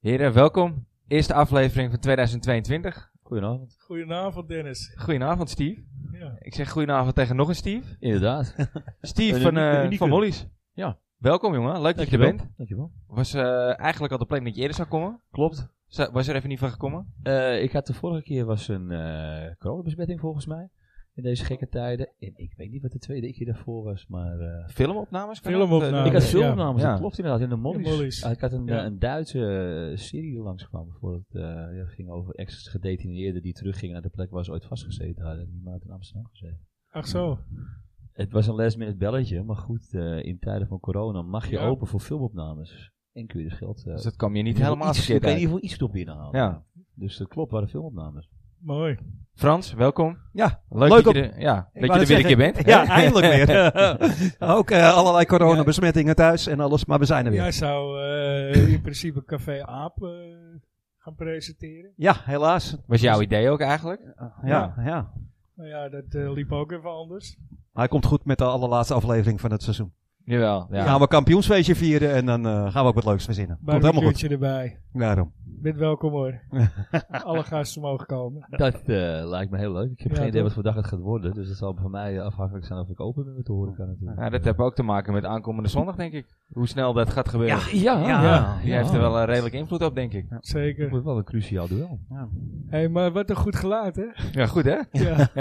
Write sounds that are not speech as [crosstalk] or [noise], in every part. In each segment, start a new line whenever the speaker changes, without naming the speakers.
Heren, welkom. Eerste aflevering van 2022.
Goedenavond.
Goedenavond Dennis.
Goedenavond, Steve.
Ja.
Ik zeg goedenavond tegen nog een Steve.
[laughs] Inderdaad.
Steve
Een
van,
unieke-
eh
unieke.
van Mollies.
Ja.
Welkom, jongen. Leuk dat je er
Dankjewel.
bent.
Dankjewel.
Was eh, eigenlijk al de planning dat je eerder zou komen.
Klopt.
Zou- Was er even niet van gekomen?
Eh, ik had de vorige keer was een eh, coronabesmetting volgens mij. In deze gekke tijden. En ik weet niet wat de tweede keer daarvoor was. Maar eh,
Filmopnames? kan dat?
Filmopnames.
Eh,
ik had
ja.
filmnamen.
Ja.
Dat klopt inderdaad. In de mollies.
In Mollies.
Ah, ik had een,
Ja.
eh, een Duitse eh, serie die langskwam. Bijvoorbeeld. eh ja, het ging over ex-gedetineerden die teruggingen naar de plek waar ze ooit vastgezeten hadden. Die maand in Amsterdam gezeten.
Ach zo.
Het was een last minute belletje. Maar goed, eh, in tijden van corona mag je
Ja.
open voor filmopnames. En kun je dus geld... eh,
Dus dat kwam je niet
in ieder geval
helemaal
iets-
verkeerd
kun je
uit.
in ieder geval iets op binnenhalen.
Ja.
Dus dat klopt, waren filmopnames.
Mooi.
Frans, welkom.
Ja,
Leuk,
Leuk
dat
om-
je er, ja,
Ik
dat je
wou
er
net
weer een keer
zeggen.
bent.
Ja, eindelijk weer. [laughs] ook eh, allerlei coronabesmettingen thuis en alles, maar we zijn er weer.
Jij zou eh, in principe Café Aap eh, gaan presenteren.
Ja, helaas.
Was jouw idee ook eigenlijk?
Ja, ja.
Nou ja, dat eh, liep ook even anders.
Hij komt goed met de allerlaatste aflevering van het seizoen.
Jawel, ja.
Dan gaan we kampioensfeestje vieren en dan eh, gaan we ook wat leuks verzinnen. Komt helemaal goed.
Barbecueetje erbij.
Daarom.
Bent welkom hoor. Alle gasten mogen komen.
Dat eh, lijkt me heel leuk. Ik heb
Ja,
geen idee
toch?
wat voor dag het gaat worden. Dus dat zal voor mij eh, afhankelijk zijn of ik open ben met de horeca natuurlijk.
Ja, nou, dat heeft ook te maken met aankomende zondag, denk ik. Hoe snel dat gaat gebeuren.
ja, ja,
Ja.
ja.
Jij heeft er wel eh, redelijk invloed op, denk ik.
Het
Zeker.
wordt wel een cruciaal duel.
Hé, hey, maar wat een goed geluid hè.
Ja, goed
[laughs]
hè?
Ja.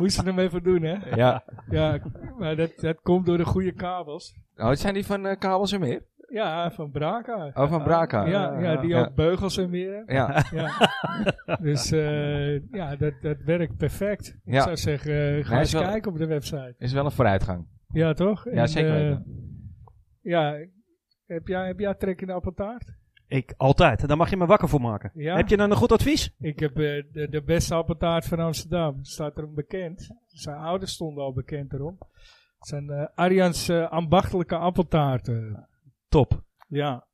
Moesten hem even doen hè.
Ja.
Ja, maar dat, dat komt door de goede kabels.
Oh, het zijn die van eh, Kabels en Meer?
Ja, van Braka.
Oh, van Braka.
Ja, ja, die
Ja.
ook beugels en meer hebben.
Ja,
Ja. dus eh, ja, dat, dat werkt perfect.
Ja.
Ik zou zeggen, eh, ga
Nee, is
eens
wel-
kijken op de website.
is wel een vooruitgang.
Ja, toch?
Ja, zeker
eh,
weten.
ja, heb jij, heb jij trek in de appeltaart?
Ik altijd. Daar mag je me wakker voor maken.
Ja.
Heb je dan een goed advies?
Ik heb eh, de, de beste appeltaart van Amsterdam. Staat erom bekend. Zijn ouders stonden al bekend erom. Het zijn eh Arjans eh, ambachtelijke appeltaarten.
Top.
Ja,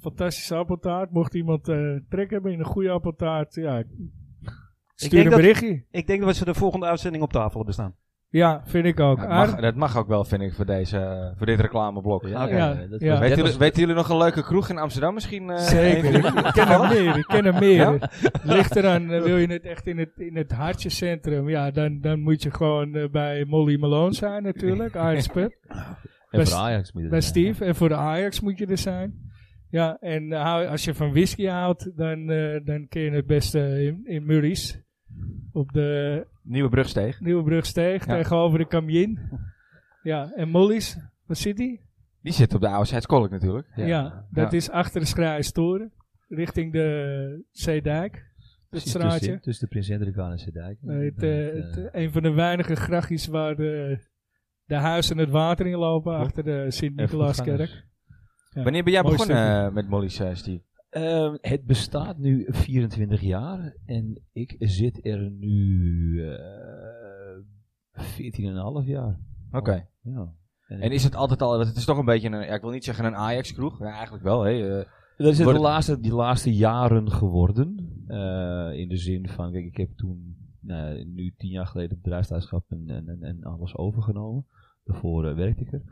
fantastische appeltaart. Mocht iemand eh, trek hebben in een goede appeltaart, ja, stuur
denk
een
dat-
berichtje.
Ik denk dat we ze de volgende uitzending op tafel hebben staan.
Ja, vind ik ook.
Dat
Aardig-
mag, dat mag ook wel, vind ik, voor, deze, eh, voor dit reclameblok.
Ja,
Oké.
Ja,
eh, dat
ja.
Weten,
was- dat
jullie,
was-
weten jullie nog een leuke kroeg in Amsterdam misschien? eh,
Zeker,
even?
ik ken er meer, ik ken er meer.
Ja?
Ligt eraan, eh, wil je het echt in het, in het hartjecentrum, ja, dan, dan moet je gewoon eh, bij Molly Malone zijn natuurlijk, Ajax
[laughs]
Pub,
En voor
Bij-
Ajax moet het
bij
zijn.
Steve. En voor de Ajax moet je er zijn. Ja, en eh, hou- als je van whisky houdt, dan, eh, dan kun je het beste in, in Murray's. Op de
Nieuwe brugsteeg.
Nieuwe Brugsteeg,
Ja.
tegenover de Camien. Ja, en Molly's, waar zit die?
Die zit op de oude Zuidskolk natuurlijk.
Ja, dat is achter de Schrijstoren, richting de Zeedijk. Het
Precies,
dus
straatje.
Tussen, tussen de Prins Hendrikaan en Sedijk.
Het,
Dat,
eh,
eh,
het, eh, een van de weinige grachtjes waar de, de huizen het water in lopen achter de Sint-Nicolaaskerk.
voetgangers.
Ja.
Wanneer ben jij
Mooi
begonnen
stukje.
eh, met Molly's, eh, Steve?
Ehm, het bestaat nu 24 jaar en ik zit er nu eh 14,5 jaar.
Oké.
Ja.
En is het altijd al, want het is toch een beetje een, ja, ik wil niet zeggen een Ajax-kroeg. Ja, eigenlijk wel, hè. eh,
Dat is het de
Wordt-
laatste, die laatste jaren geworden. Eh, in de zin van, kijk, ik heb toen, nou ja, nu tien jaar geleden, bedrijfsleiderschap en, en, en, en alles overgenomen. Daarvoor eh, werkte ik er.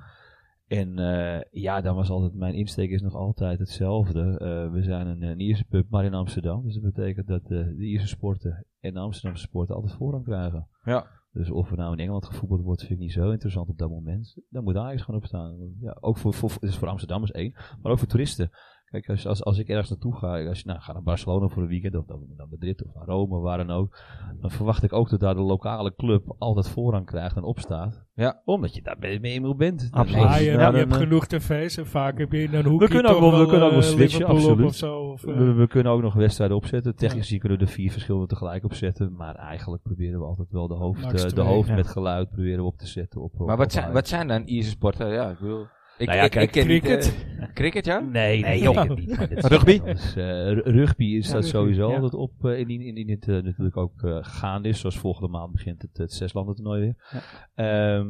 En eh, ja, dan was altijd, mijn insteek is nog altijd hetzelfde. Eh, we zijn een, een Ierse pub, maar in Amsterdam. Dus dat betekent dat eh, de Ierse sporten en de Amsterdamse sporten altijd voorrang krijgen.
ja.
Dus of er nou in Engeland gevoetbald wordt, vind ik niet zo interessant op dat moment. Daar moet Ajax gewoon op staan. Want Ja, ook voor, voor, het is voor Amsterdammers één, maar ook voor toeristen. Kijk, als, als, als ik ergens naartoe ga, als je nou, ga naar Barcelona voor een weekend, of naar, naar Madrid, of naar Rome, waar dan ook. Dan verwacht ik ook dat daar de lokale club altijd voorrang krijgt en opstaat.
Ja.
Omdat je daar mee mee in bent.
Absoluut.
Maar Ah, je,
Ja,
je
dan,
hebt
eh,
genoeg tv's en vaak heb je in een hoekje
kunnen ook
toch
wel- we kunnen ook wel
eh,
switchen,
Liverpool op
absoluut.
of zo. Of, eh,
we, we kunnen ook nog wedstrijden opzetten. Technisch
Ja.
gezien kunnen we er vier verschillende tegelijk opzetten. Maar eigenlijk proberen we altijd wel de hoofd,
Max
eh, de
twee,
hoofd
ja.
met geluid proberen we op te zetten. Op, op-
Maar
op
wat zijn,
Ajax.
wat zijn dan Ierse sporten? Ja, ik bedoel... Ik,
Nou ja,
ik, ik ken
kijk,
niet, eh,
cricket.
cricket, ja?
Nee, nee,
joh.
ik heb niet. maar dit is
[laughs] Ah, Rugby?
wat anders. Eh, ru- rugby is
Ja,
dat
rugby,
sowieso
ja.
altijd op, eh, indien, indien het eh, natuurlijk ook eh, gaande is. Zoals volgende maand begint het, het zeslanden toernooi weer. Ehm,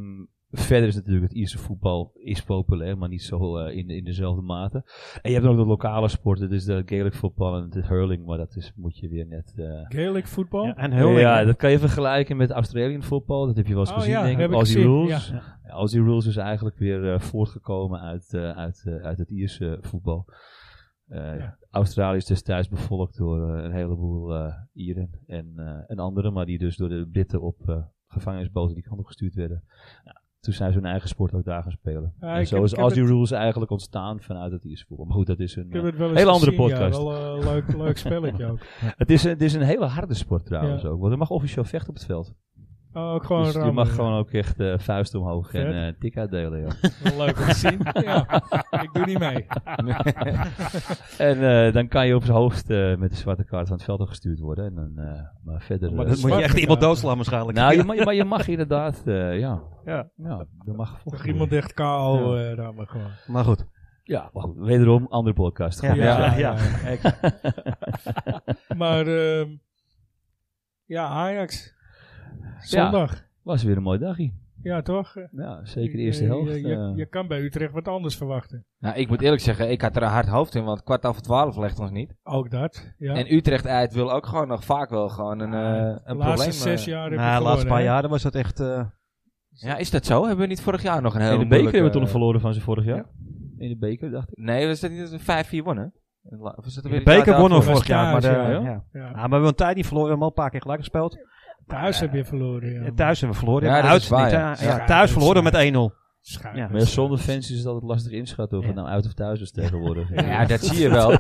verder is natuurlijk het Ierse voetbal is populair, maar niet zo eh, in, in dezelfde mate. En je hebt ook de lokale sporten, dus de Gaelic voetbal en de hurling, maar dat is, moet je weer net... eh,
Gaelic voetbal.
Ja, en heel
ja,
ja,
dat kan je vergelijken met Australian voetbal. Dat heb je wel eens
Oh
gezien,
ja,
denk
heb
ik.
ik
Aussie
gezien,
Rules. Ja, Aussie Rules is eigenlijk weer eh, voortgekomen uit, eh, uit, eh, uit het Ierse eh, voetbal. Eh,
Ja.
Australië is destijds bevolkt door eh, een heleboel eh, Ieren en, eh, en anderen, maar die dus door de Britten op eh, gevangenisboten die kant op gestuurd werden. Ja, toen zijn ze hun eigen sport ook daar gaan spelen.
Ja,
en
ik
zo
heb-
is
ik heb
Aussie Rules eigenlijk ontstaan vanuit het Ierse voetbal. Maar goed, dat is een, eh,
Ik heb het wel eens
Hele andere
gezien, ja.
podcast.
wel eh, een leuk,
[laughs]
leuk spelletje ook.
eh, het, is, het is een hele harde sport trouwens
Ja.
ook, want er mag officieel vechten op het veld.
Oh, Ook gewoon
dus je
rammen,
mag
ja.
gewoon ook echt eh vuist omhoog en
Vet.
eh tik uitdelen. joh. [laughs]
Wel leuk om te zien. Ja, ik doe niet mee.
En eh, dan kan je op zijn hoogst eh, met de zwarte kaart van het veld gestuurd worden. En dan, eh, maar verder.
Maar
eh,
dat
Dan moet je echt
Zwarte
iemand
kaarten.
doodslaan
[laughs]
waarschijnlijk.
nou, je, ma- maar je mag inderdaad, eh, ja.
Ja.
Ja, dat mag
Toch
gevochten
iemand
worden.
echt KO eh rammen gewoon.
Maar goed.
Ja, maar goed, wederom, andere podcast. Goed.
Ja, ja.
[laughs] Maar ehm, ja, Ajax. Zondag. Ja,
Was weer een mooi dagje.
toch?
Ja, zeker de
Ik,
eerste
eh,
helft.
Je,
eh.
je, je kan bij Utrecht wat anders verwachten.
Nou, ik moet eerlijk zeggen, ik had er een hard hoofd in, want kwart over twaalf legt ons niet.
Ook dat. Ja.
En Utrecht uit wil ook gewoon nog vaak wel gewoon een, eh,
de
een
laatste
probleem. eh.
zes jaar heb je
Nou, de laatste
verloren,
paar
hè?
jaar dan was dat echt... eh,
Ja, is dat zo? Hebben we niet vorig jaar nog een hele
in de beker hebben we
moeilijke-
toen nog verloren van ze vorig jaar. In de beker, dacht ik.
Nee, was dat niet dat we vijf, vier wonnen? Of is dat weer
de
het jaar
beker wonnen we
daarvoor?
vorig jaar. Maar, de,
thuis,
ja,
ja,
ja.
Ja.
Ah, maar we hebben een tijd niet verloren. We hebben al een paar keer gelijk gespeeld.
Thuis heb je verloren. Ja.
Ja, thuis hebben we verloren.
Ja,
maar
dat
uit
is waar,
niet,
ja.
hè? Ja,
Ja, dat
thuis
is
verloren
waar.
met 1-0.
Schuif.
Ja.
Maar ja, zonder fans is het altijd lastig inschatten of het nou uit of thuis is tegenwoordig.
Ja, dat zie je [laughs] wel.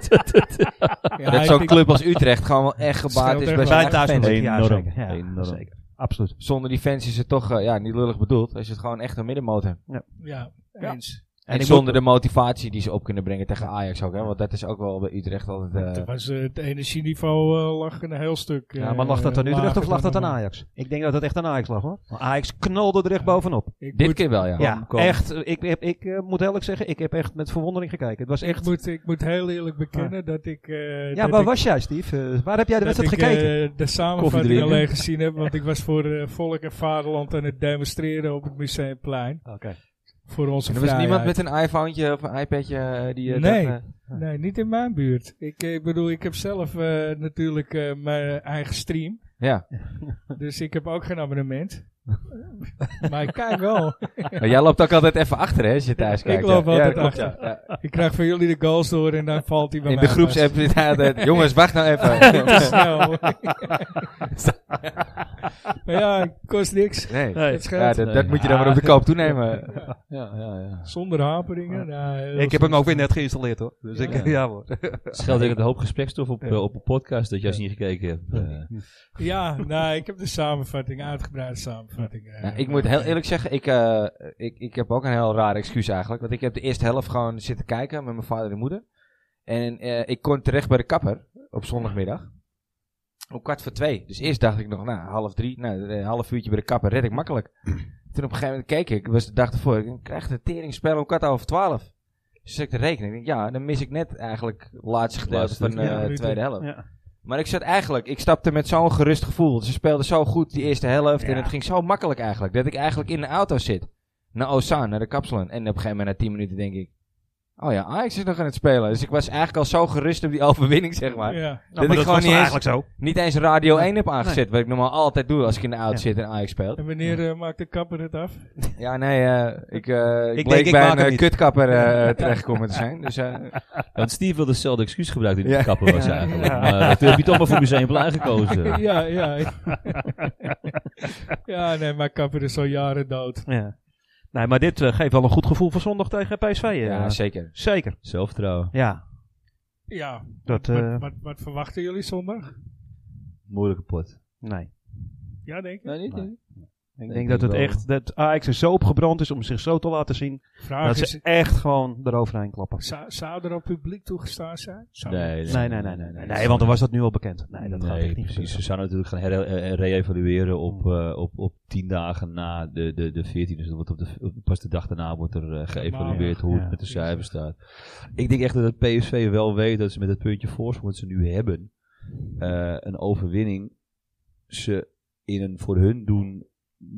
Ja,
dat
ik
zo'n
denk-
club als Utrecht gewoon wel echt gebaat
Scheelt
is
echt
bij
wel.
zijn
Bij
eigen
thuis
fans.
met ja,
Enorm.
zeker. Ja,
Enorm.
zeker. Absoluut.
Zonder die fans is het toch, eh, ja, niet lullig bedoeld. Als je het gewoon echt een middenmotor.
Ja,
Ja.
eens.
En,
ik
zonder de motivatie die ze op kunnen brengen tegen Ajax ook, hè. Want dat is ook wel bij Utrecht altijd... eh,
Toen was, eh, het energieniveau eh, lag een heel stuk.
Ja,
eh,
maar lag dat aan Utrecht
lager
of lag dat
dan
aan Ajax? Ik denk dat dat echt aan Ajax lag hoor. Want Ajax knalde er echt bovenop.
Ik
dit
moet,
keer wel, ja.
Ja,
kom.
echt. eh, Ik, heb- ik, eh, moet eerlijk zeggen, ik heb echt met verwondering gekeken. Het was
ik,
echt...
moet, ik moet heel eerlijk bekennen dat ik... eh,
Ja,
dat
waar
ik-
was jij Steve? Eh, waar heb jij de
dat
wedstrijd
ik, eh,
gekeken?
de
Koffie
samenvatting
drinken.
alleen gezien heb, want ik was voor eh, Volk en Vaderland aan het demonstreren op het Museumplein.
Oké.
Voor onze
En er was
vrijheid.
niemand met een iPhone of een iPadje eh, die... eh,
Nee.
dat, eh,
Nee, niet in mijn buurt. Ik, eh, ik bedoel, ik heb zelf eh, natuurlijk eh, mijn eigen stream.
ja.
Dus ik heb ook geen abonnement. [laughs] maar ik kijk wel.
Maar jij loopt ook altijd even achter, hè, als je thuis
Ik
kijkt.
loop
ja. Ja,
altijd
dat klopt,
achter.
ja. Ja.
Ik krijg van jullie de goals door en dan valt die bij
In
mij.
de groepsapp [laughs] zit hij altijd... Jongens, wacht nou
[laughs]
even.
Te snel.
[laughs]
maar ja, het kost niks.
Nee.
Het scheelt.
Ja, dat, dat moet je dan maar op de koop toenemen.
Ja, ja, ja.
Zonder haperingen. nou, heel
Ik heb hem ook weer net geïnstalleerd hoor. Dus ik,
Ja.
ja, hoor.
Het scheelt denk ik een hoop gesprekstof op, eh, op een podcast dat je als je niet gekeken hebt. eh.
Ja, nou, ik heb de samenvatting, uitgebreide samenvatting. eh.
Ja, Nou, ik moet heel eerlijk zeggen, ik, eh, ik, ik heb ook een heel raar excuus eigenlijk. Want ik heb de eerste helft gewoon zitten kijken met mijn vader en moeder. En eh, ik kon terecht bij de kapper op zondagmiddag. Om kwart voor twee. Dus eerst dacht ik nog, nou, half drie, nou, een half uurtje bij de kapper red ik makkelijk. [clears throat] Toen op een gegeven moment keek ik, was de dag ervoor, ik denk, krijg de teringspel om kwart over twaalf. Dus zet ik de rekening, ik denk, ja, dan mis ik net eigenlijk het laatste gedeelte
Laatste,
van eh,
ja,
de
minuten.
tweede helft.
Ja.
Maar ik zat eigenlijk, ik stapte met zo'n gerust gevoel. Ze speelden zo goed die eerste helft en
Ja.
het ging zo makkelijk eigenlijk. Dat ik eigenlijk in de auto zit. Naar Ozaan, naar de kapselen. En op een gegeven moment na 10 minuten denk ik, oh ja, Ajax is nog aan het spelen. Dus ik was eigenlijk al zo gerust op die [laughs] overwinning, zeg maar.
Ja.
Dat ik gewoon
dat was
niet
toch
eens,
eigenlijk zo.
niet eens Radio 1 heb aangezet, wat ik normaal altijd doe als ik in de auto zit en Ajax speelt.
En wanneer eh, maakt de kapper het af?
Ja, nee, eh, ik, eh ik,
denk,
bleek
ik
bij
maak
een
hem
eh,
niet.
kutkapper
[laughs]
eh, terechtkomen te zijn. Dus eh,
Want Steve wilde hetzelfde excuus gebruiken die
Ja.
de kapper was
Ja.
eigenlijk. Maar toen heb je toch maar voor Museumplein gekozen.
[laughs]
[laughs]
Ja, ja. ja, nee, maar kapper is al jaren dood.
Ja. Nee, maar dit eh, geeft wel een goed gevoel voor zondag tegen PSV. eh.
ja, zeker.
zeker.
Zelfvertrouwen.
Ja.
Ja,
Dat, eh,
wat, wat, wat verwachten jullie zondag?
Moeilijke pot.
nee.
Ja, denk ik.
Nee, niet,
Nee.
niet.
Ik
denk
denk dat
het
het
wel.
echt, dat Ajax er zo op gebrand is om zich zo te laten zien.
Vraag
dat Nou, ze
is,
echt gewoon eroverheen klappen.
zou, zou er al publiek toegestaan zijn? Zou-
Nee,
Nee, nee, nee, nee. Nee, nee want dan was dat nu al bekend. Nee, dat gaat echt niet Mm.
precies. Ze
precies.
zouden natuurlijk gaan hera- eh, re-evalueren op, eh, op, op tien dagen na de, de, de 14. Dus dat wordt op de, op- pas de dag daarna wordt er eh, geëvalueerd
Ja,
hoe het
ja.
met de cijfers staat. Ik denk echt dat het PSV wel weet dat ze met het puntje voorsprong dat ze nu hebben, eh, een overwinning ze in een voor hun doen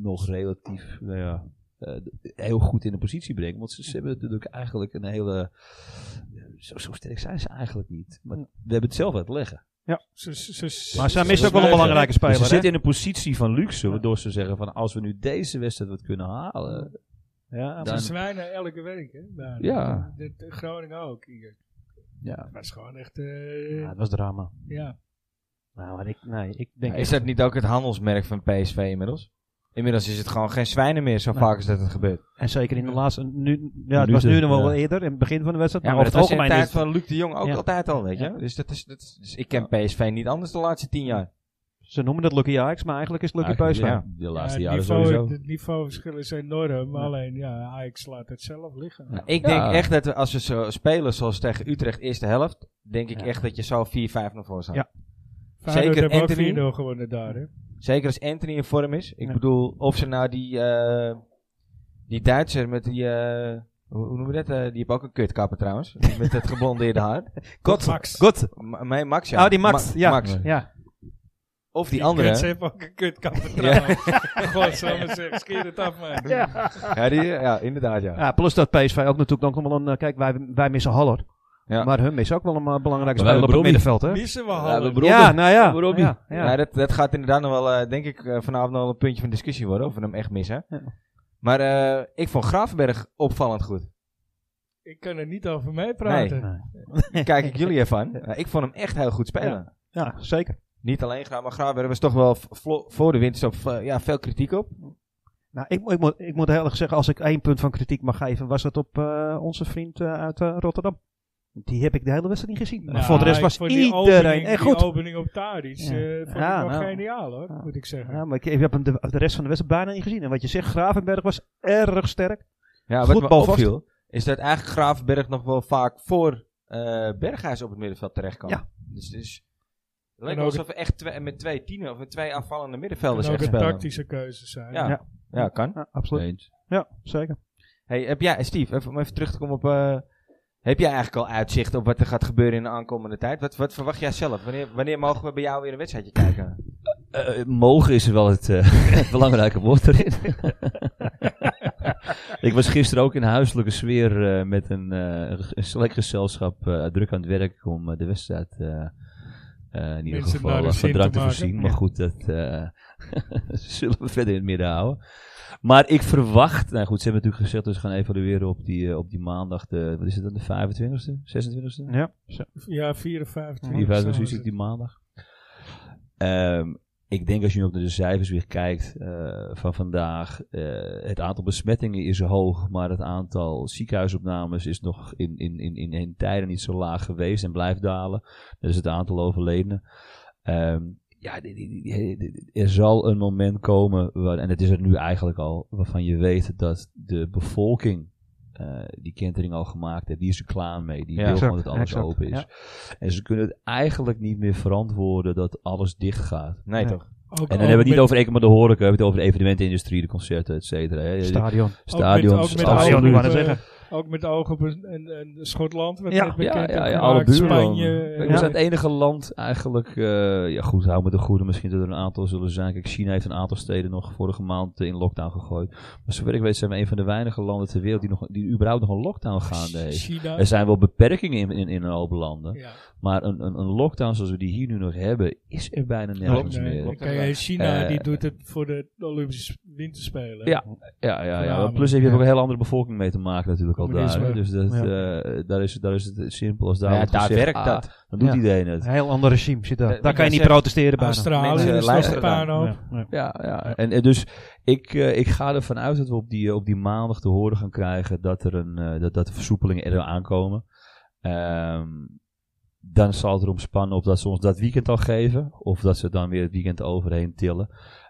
nog relatief nou ja, eh, d- heel goed in de positie brengen. Want ze, ze hebben natuurlijk eigenlijk een hele... Zo, zo sterk zijn ze eigenlijk niet. Maar we hebben het zelf aan het leggen.
Ze- ze- ze-
Maar zij
ze-
mist
ze-
ook wel een
ze-
belangrijke speler.
Dus ze
hè?
zitten in een positie van luxe, waardoor ze zeggen van als we nu deze wedstrijd wat kunnen halen.
Ja,
Dan-
Ze zwijnen elke week, hè? daar.
Ja.
De, de Groningen ook. Hier.
Ja.
Het was gewoon echt, eh,
Ja, het was drama.
ja.
Nou, maar ik, nee, ik denk
Maar is dat niet ook het handelsmerk van PSV inmiddels? Inmiddels is het gewoon geen zwijnen meer, zo
Nou.
vaak als dat het gebeurt.
En zeker in de laatste. Nu, ja, het
Minuten,
was nu nog wel
ja.
eerder, in het begin van de wedstrijd.
Ja,
maar
maar
over
dat was
het
in de
algemeen
tijd
is het-
van Luc de Jong ook
Ja.
altijd al, weet je.
Ja.
Dus, dat is, dat is- dus ik ken PSV niet anders de laatste tien jaar.
ze noemen dat Lucky Ajax, maar eigenlijk is het Lucky PSV.
Eigenlijk, ja, De laatste
Ja, het
jaren
Eh, niveau,
sowieso.
Het niveauverschil is enorm. Maar alleen, ja, Ajax laat het zelf liggen.
Nou, ik
Ja.
denk echt dat we, als we zo spelen zoals tegen Utrecht eerste helft, denk ik echt dat je zo 4-5 naar voor staat.
Ja.
Feyenoord
zeker
hebben ook
Anthony.
4-0 gewonnen daar, hè.
Zeker als Anthony in vorm is. Ik
Ja.
bedoel, of ze nou die, eh, die Duitser met die, eh, hoe hoe noem je dat? Eh, die heeft ook een kutkapper trouwens. met
[laughs]
het geblondeerde haar.
God,
Max.
God.
M- mijn Max, ja.
Oh, die Max,
Ma-
ja.
Max.
Ja.
Of die
Ze
andere.
hebben ook een kutkapper trouwens. God, zal maar zeggen, skeer het af, man.
Ja, die, ja, inderdaad, ja.
ja. Plus dat PSV ook natuurlijk dan nog wel een. eh, Kijk, wij, wij missen Haller.
Ja.
Maar hun missen ook wel een eh, belangrijke
Maar wij
speler op het
hebben
middenveld, hè?
Missen we halen.
Brobbey.
Ja, nou ja.
Brobbey.
Ja,
Ja.
ja.
dat, dat gaat inderdaad nog wel, eh, denk ik, eh, vanavond nog wel een puntje van discussie worden. Of we hem echt missen.
Ja.
Maar eh, ik vond Gravenberg opvallend
[laughs]
goed.
ik kan er niet over mee praten.
Nee.
Kijk ik jullie even aan. Nou, ik vond hem echt heel goed spelen.
Ja, zeker.
Niet alleen Graaf, maar Gravenberg was toch wel v- vlo- voor de winterstop eh, ja, veel kritiek op.
Nou, ik, moet- ik, moet, ik moet heel erg zeggen, als ik één punt van kritiek mag geven, was dat op eh, onze vriend eh, uit eh, Rotterdam. Die heb ik de hele wedstrijd niet gezien. Maar
Nou,
voor de rest
ik
was
vond die
iedereen
opening-
echt
Die
goed.
opening op Tadic eh
Ja.
vond
Ja,
ik wel
nou.
geniaal hoor,
Ja.
moet ik zeggen.
Ja, maar ik, ik heb hem de, de rest van de wedstrijd bijna niet gezien. En wat je zegt, Gravenberg was erg sterk.
Ja,
Goed
wat me
balvast.
opviel, is dat eigenlijk Gravenberg nog wel vaak voor eh, Berghuis op het middenveld terecht kan.
Ja.
Dus, dus het leek
En ook
alsof we echt twee- met twee tienen of met twee aanvallende middenvelders
Dat ook
echt
een
spelen.
tactische keuze zijn.
Ja.
Ja.
Ja. kan.
Ja,
eh,
absoluut.
Eens.
Ja, zeker.
Hey, heb jij, Steve, even, om even terug te komen op... eh, heb jij eigenlijk al uitzicht op wat er gaat gebeuren in de aankomende tijd? Wat, wat verwacht jij zelf? Wanneer, wanneer mogen we bij jou weer een wedstrijdje kijken?
Eh, mogen is wel het eh, [laughs] belangrijke woord
[laughs]
erin. ik was gisteren ook in huiselijke sfeer eh, met een, eh, een ge- een select gezelschap eh, druk aan het werk om eh, de wedstrijd eh, eh, in ieder
Mensen
geval
naar de
eh, van
zin
drank
te
te
maken.
voorzien. Maar goed, dat eh, [laughs] zullen we verder in het midden houden. Maar ik verwacht, nou goed, ze hebben natuurlijk gezegd dat ze gaan evalueren op die, eh, op die maandag, de, wat is het dan, de 25e, 26e?
Ja, zo.
Ja, 54.
Die
of zo
vijf
was
precies
het.
op die maandag. Ehm, ik denk als je nu ook naar de cijfers weer kijkt eh, van vandaag. eh, het aantal besmettingen is hoog, maar het aantal ziekenhuisopnames is nog in, in, in, in, in tijden niet zo laag geweest en blijft dalen. Dat is het aantal overledenen. Ehm, ja, die- die- die- die- die- er zal een moment komen, waar, en het is er nu eigenlijk al, waarvan je weet dat de bevolking eh, die kentering al gemaakt heeft, die is er klaar mee. Die
Ja,
wil
exact,
gewoon dat alles
exact,
open is.
ja.
En ze kunnen het eigenlijk niet meer verantwoorden dat alles dicht gaat.
Nee,
Nee.
toch?
Ook-
En dan
ook
hebben we het niet
met-
over economie, de horeca, we hebben het over de evenementenindustrie, de concerten, et cetera. hè.
Stadion.
ook met-
Stadions,
ook met
stadion,
ogen
absoluut.
ik wou
op,
net
eh,
zeggen.
Ook met ogen op een, een- een Schotland. Wat
Ja.
net bekend
Ja, ja,
heeft
ja, alle
gemaakt,
buurlanden.
Spanje.
We
eh,
zijn het enige land eigenlijk, eh, ja goed, hou me de goede, misschien dat er een aantal zullen zijn. Kijk, China heeft een aantal steden nog vorige maand eh, in lockdown gegooid. Maar zover ik weet zijn we een van de weinige landen ter wereld die, nog, die überhaupt nog een lockdown gaande heeft.
China.
Er zijn wel beperkingen in, in, in een hoop landen,
Ja.
maar een, een, een lockdown zoals we die hier nu nog hebben, is er bijna nergens
Nee,
meer.
dan kan je- China
Eh,
die doet het voor de Olympische Winterspelen.
Ja, Ja, ja, ja.
Voornamelijk,
Plus heb je
ja.
ook een heel andere bevolking mee te maken natuurlijk al daar.
Communisme.
hè. Dus dat,
Ja.
eh, daar, is, daar is het simpel als daar
Nou ja,
wordt
daar
gezegd,
werkt
ah,
dat.
Dan doet
Ja.
iedereen het.
Een heel ander regime zit
Eh,
daar. Daar
wat
kan
jij
je niet
zegt,
protesteren bijna.
Australië
Mensen
is nog
luisteren
een puinhoop.
Ja, ja.
Ja, ja. En, eh, dus ik, eh, ik ga ervan uit dat we op die, eh, op die maandag te horen gaan krijgen dat, er een, eh, dat, dat de versoepelingen er aankomen. Ehm, dan zal het erom spannen of dat ze ons dat weekend al geven. Of dat ze dan weer het weekend overheen tillen.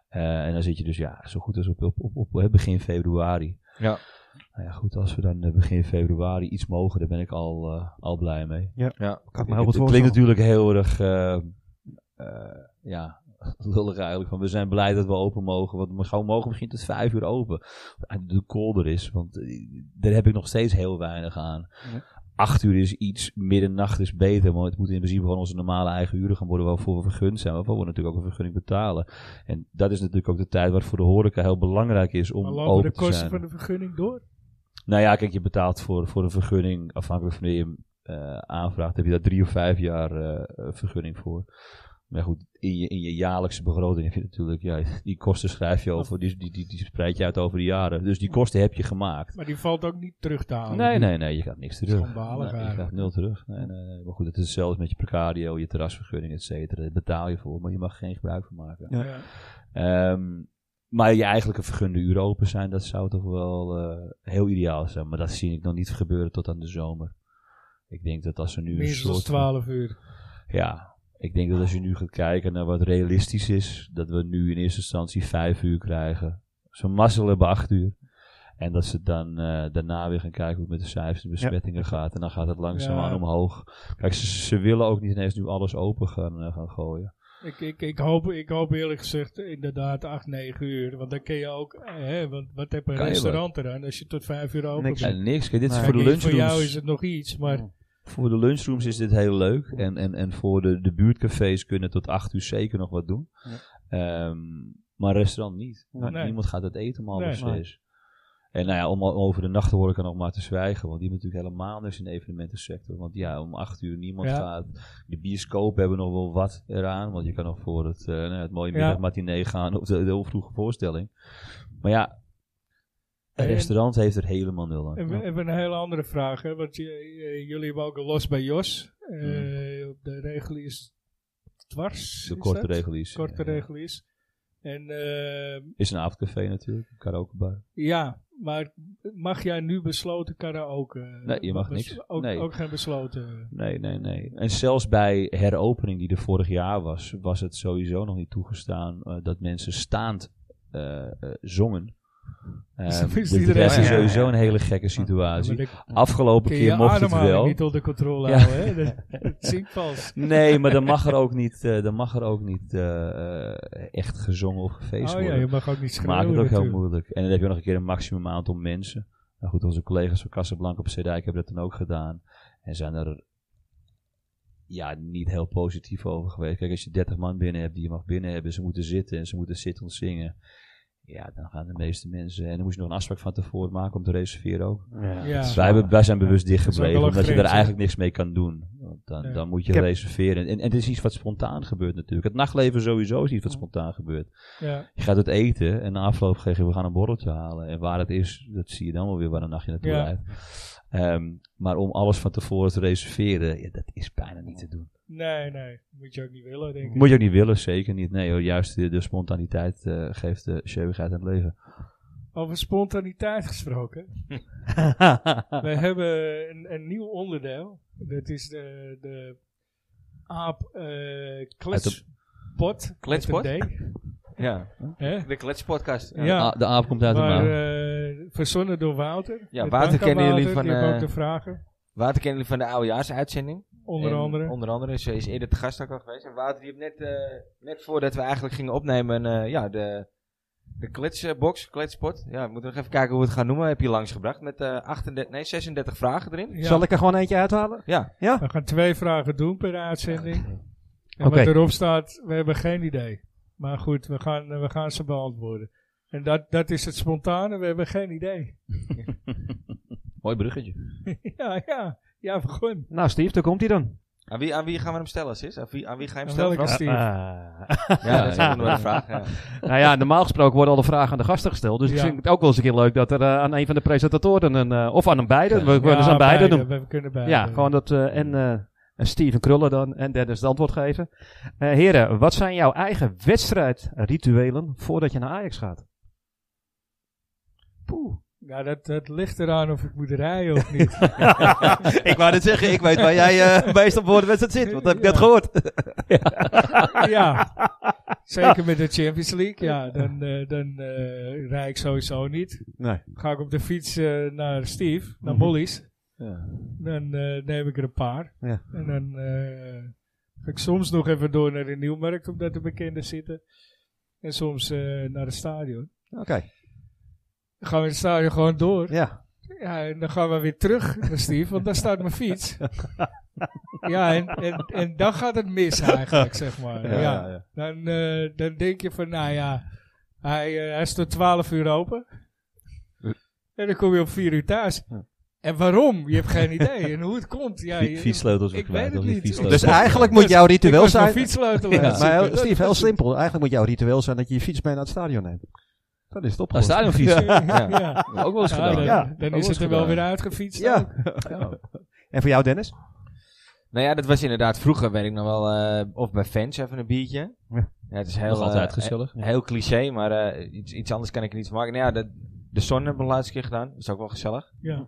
Eh, en dan zit je dus ja, zo goed als op, op, op, op eh, begin februari.
Ja.
Nou ja, goed, als we dan eh, begin februari iets mogen, daar ben ik al, eh, al blij mee.
Kan ik me heel
Het,
goed
het klinkt
voorstellen.
natuurlijk heel erg eh, eh, ja, lullig eigenlijk. Van, we zijn blij dat we open mogen. Want we gewoon mogen misschien tot vijf uur open. En De kolder is, want eh, daar heb ik nog steeds heel weinig aan.
Ja.
Acht uur is iets, middernacht is beter. Maar het moet in principe gewoon onze normale eigen uren gaan worden waarvoor we vergund zijn. Waarvoor we natuurlijk ook een vergunning betalen. En dat is natuurlijk ook de tijd waar het voor de horeca heel belangrijk is om
Maar
open
lopen de
te zijn.
kosten van de vergunning door?
Nou ja, kijk, je betaalt voor, voor een vergunning, afhankelijk van wanneer je hem eh, aanvraagt, heb je daar drie of vijf jaar eh, eh, vergunning voor. Maar goed, in je, in je jaarlijkse begroting heb je natuurlijk, ja, die kosten schrijf je over, die, die, die, die spreid je uit over de jaren. Dus die kosten heb je gemaakt.
Maar die valt ook niet terug te halen.
Nee, nee, nee, je gaat niks terug.
Schandalig
Nee, je
eigenlijk.
gaat nul terug. Nee, nee, nee. Maar goed, het is hetzelfde met je precario, je terrasvergunning, et cetera. Daar betaal je voor, maar je mag geen gebruik van maken.
Ja.
Ja.
Ehm, maar je eigenlijke vergunde uren open zijn, dat zou toch wel eh, heel ideaal zijn. Maar dat zie ik nog niet gebeuren tot aan de zomer. Ik denk dat als er nu een
Minstens
soort...
12 uur.
Ja, ik denk dat als je nu gaat kijken naar wat realistisch is, dat we nu in eerste instantie vijf uur krijgen. Ze mazzel hebben acht uur. En dat ze dan eh, daarna weer gaan kijken hoe het met de cijfers en besmettingen gaat. En dan gaat het langzaamaan
Ja.
omhoog. Kijk, ze, ze willen ook niet ineens nu alles open gaan, eh, gaan gooien.
Ik, ik, ik, hoop, ik hoop eerlijk gezegd inderdaad 8, 9 uur. Want dan kun je ook... eh, Hè, want wat heb een
Kan je
restaurant eraan als je tot 5 uur open
Niks.
bent?
En niks, kijk, dit is
Nee.
voor de
Kijk,
lunch.
Voor jou is het nog iets, maar...
Voor de lunchrooms is dit heel leuk. En, en, en voor de, de buurtcafés kunnen tot 8 uur zeker nog wat doen.
Ja.
Ehm, maar restaurant niet.
Nee.
Want Niemand gaat het eten, maar
Nee.
alles is. En nou ja, om al over de nacht te horen kan nog maar te zwijgen. Want die hebben natuurlijk helemaal niks in de evenementensector. Want ja, om 8 uur niemand
Ja.
gaat. De bioscopen hebben nog wel wat eraan. Want je kan nog voor het, eh, nou ja, het mooie
Ja.
middagmatinee gaan. Of de, de vroege voorstelling. Maar ja, een
En-
restaurant heeft er helemaal nul aan.
En we hebben een hele andere vraag, hè? want je- eh, jullie hebben ook een los bij Jos. Eh, De regel is dwars.
de
is
korte
dat?
regel is. eh,
Korte
ja.
regel is. En eh,
Is een avondcafé natuurlijk, een karaokebar.
ja, maar mag jij nu besloten karaoke?
Nee, je mag
Bes-
niks.
Ook,
Nee. Nou,
ook geen besloten. eh,
Nee, nee, nee. En zelfs bij heropening die er vorig jaar was, was het sowieso nog niet toegestaan eh, dat mensen staand eh, eh,
[laughs]
zongen. Ehm,
Dus dan is
dus
die
dat
er
was
echt- ja, ja,
sowieso
ja.
een hele gekke
Ja, maar
situatie.
dan
Afgelopen
kun je je
keer mocht het
ademhaling
wel.
niet onder controle
Ja.
houden. Hè? Dat, dat zie ik
[laughs]
vals.
Nee, maar dan mag er ook niet, eh, dan mag er ook niet eh, eh, echt gezongen of gefeest
Oh ja,
worden.
je mag ook niet schrijven.
maakt het ook heel moeilijk. En dan heb je nog een keer een maximum aantal mensen. Nou goed, onze collega's van Casablanca op Zeedijk hebben dat dan ook gedaan. En zijn er ja, niet heel positief over geweest. Kijk, als je 30 man binnen hebt die je mag binnen hebben, ze moeten zitten en ze moeten zitten en zingen. Ja, dan gaan de meeste mensen. En dan moest je nog een afspraak van tevoren maken om te reserveren ook. Dus
Ja.
Wij, hebben, wij zijn bewust dicht
Dat is ook
gebleven,
wel
omdat je
een
er
grens,
eigenlijk niks mee kan doen. Want dan,
Ja.
dan moet je
Ik heb-
reserveren. En, en het is iets wat spontaan gebeurt natuurlijk. Het nachtleven sowieso is iets wat spontaan gebeurt.
Ja.
Je gaat het eten en na afloop zeg je, we gaan een borreltje halen. En waar het is, dat zie je dan wel weer waar een nachtje naartoe
Ja.
rijdt. Ehm, maar om alles van tevoren te reserveren, ja, dat is bijna niet te doen.
Nee, nee. Moet je ook niet willen, denk ik.
Moet je ook niet willen, zeker niet. Nee, hoor, juist de, de spontaniteit eh, geeft de scheuwigheid aan het
[laughs]
leven.
Over spontaniteit gesproken.
[laughs]
We hebben een, een nieuw onderdeel. Dat is de, de aap eh kletspot.
Kletspot?
Met een
Ja,
D, hè?
de kletspodcast.
Ja.
A- Ah, de aap komt uit de
Maar
mouw.
eh, verzonnen door Wouter.
Ja,
Met
Wouter
dank aan
kennen jullie
Wouter,
van,
die heeft ook
eh,
de vragen,
Water kennen jullie van de oudejaarsuitzending.
onder
En
andere.
Onder andere, ze is eerder te gast ook al geweest. En Wouter die heeft net, eh, net voordat we eigenlijk gingen opnemen, eh, ja, de, de kletsbox, kletspot. Ja, we moeten nog even kijken hoe we het gaan noemen. Heb je langsgebracht met eh 38, nee, 36 vragen erin.
Ja,
Zal ik er gewoon eentje uithalen?
Ja,
We gaan twee vragen doen per uitzending. En
Oké.
wat erop staat, we hebben geen idee. Maar goed, we gaan, eh, we gaan ze beantwoorden. En dat, dat is het spontane, we hebben geen idee. [laughs]
Mooi bruggetje.
ja, ja. Ja, begon.
Nou, Steve, daar komt hij dan.
aan wie, aan wie gaan we hem stellen, Sis? Aan wie, aan wie ga je hem
Aan
stellen?
welke
Frans?
Steve?
Ah.
Ja, dat is ook nog een vraag. Ja.
nou ja, normaal gesproken worden alle vragen aan de gasten gesteld. Dus ik
Ja.
vind het ook wel eens een keer leuk dat er eh, aan een van de presentatoren, een, eh, of aan een beide, we kunnen ze
Ja,
aan beide doen.
We kunnen beide.
Ja, gewoon dat. eh, en, eh, en Steven Krullen dan. En Dennis het antwoord geven. Eh, heren, wat zijn jouw eigen wedstrijdrituelen voordat je naar Ajax gaat?
Poeh. Ja, dat, dat ligt eraan of ik moet rijden of niet.
[laughs]
[laughs]
ik wou net zeggen, ik weet waar jij eh, [laughs] meestal voor de wedstrijd zit.
want dat heb ik net
gehoord.
ja, zeker met de Champions League. Ja, dan, eh, dan eh, rijd ik sowieso niet.
Nee.
Ga ik op de fiets eh, naar Steve, naar
Mhm.
Molly's.
Ja.
Dan eh, neem ik er een paar.
Ja.
[laughs] En dan eh, ga ik soms nog even door naar de Nieuwmarkt, omdat de bekenden zitten. En soms eh, naar het stadion.
Oké,
Dan gaan we in het stadion gewoon door.
ja.
Ja, en dan gaan we weer terug naar Steve, want daar staat mijn fiets. Ja, en, en, en dan gaat het mis eigenlijk, zeg maar. Ja, Dan, eh, dan denk je van, nou ja, hij, eh, hij is tot 12 uur open. En dan kom je om 4 uur thuis. En waarom? Je hebt geen idee. En hoe het komt. Ja, je-
Fietssleutels weer
ik weet
kwijt.
het
of die
niet.
fietssleutels-
Dus eigenlijk moet jouw
Ik
ritueel
was mijn
zijn...
fietssleutel aan het
Maar heel-
zoeken.
[laughs] Steve, heel simpel. Eigenlijk moet jouw ritueel zijn dat je je fiets mee naar het stadion neemt. Dan is het
Ah,
opgelost.
stadionfiets.
eh, Ja. Ja,
Ook wel eens gedaan.
dan,
Ja,
dan
dat
is het
was
er wel
gedaan.
weer uitgefietst. ook.
Ja. En voor jou, Dennis?
Nou ja, dat was inderdaad vroeger, weet ik nog wel, eh, of bij fans even een biertje.
Ja.
Ja, het is heel,
Nog altijd
eh,
gezellig.
he- heel cliché, maar eh, iets, iets anders kan ik er niet van maken. Nou ja, dat, de zon hebben we de laatste keer gedaan. Dat is ook wel gezellig.
Ja.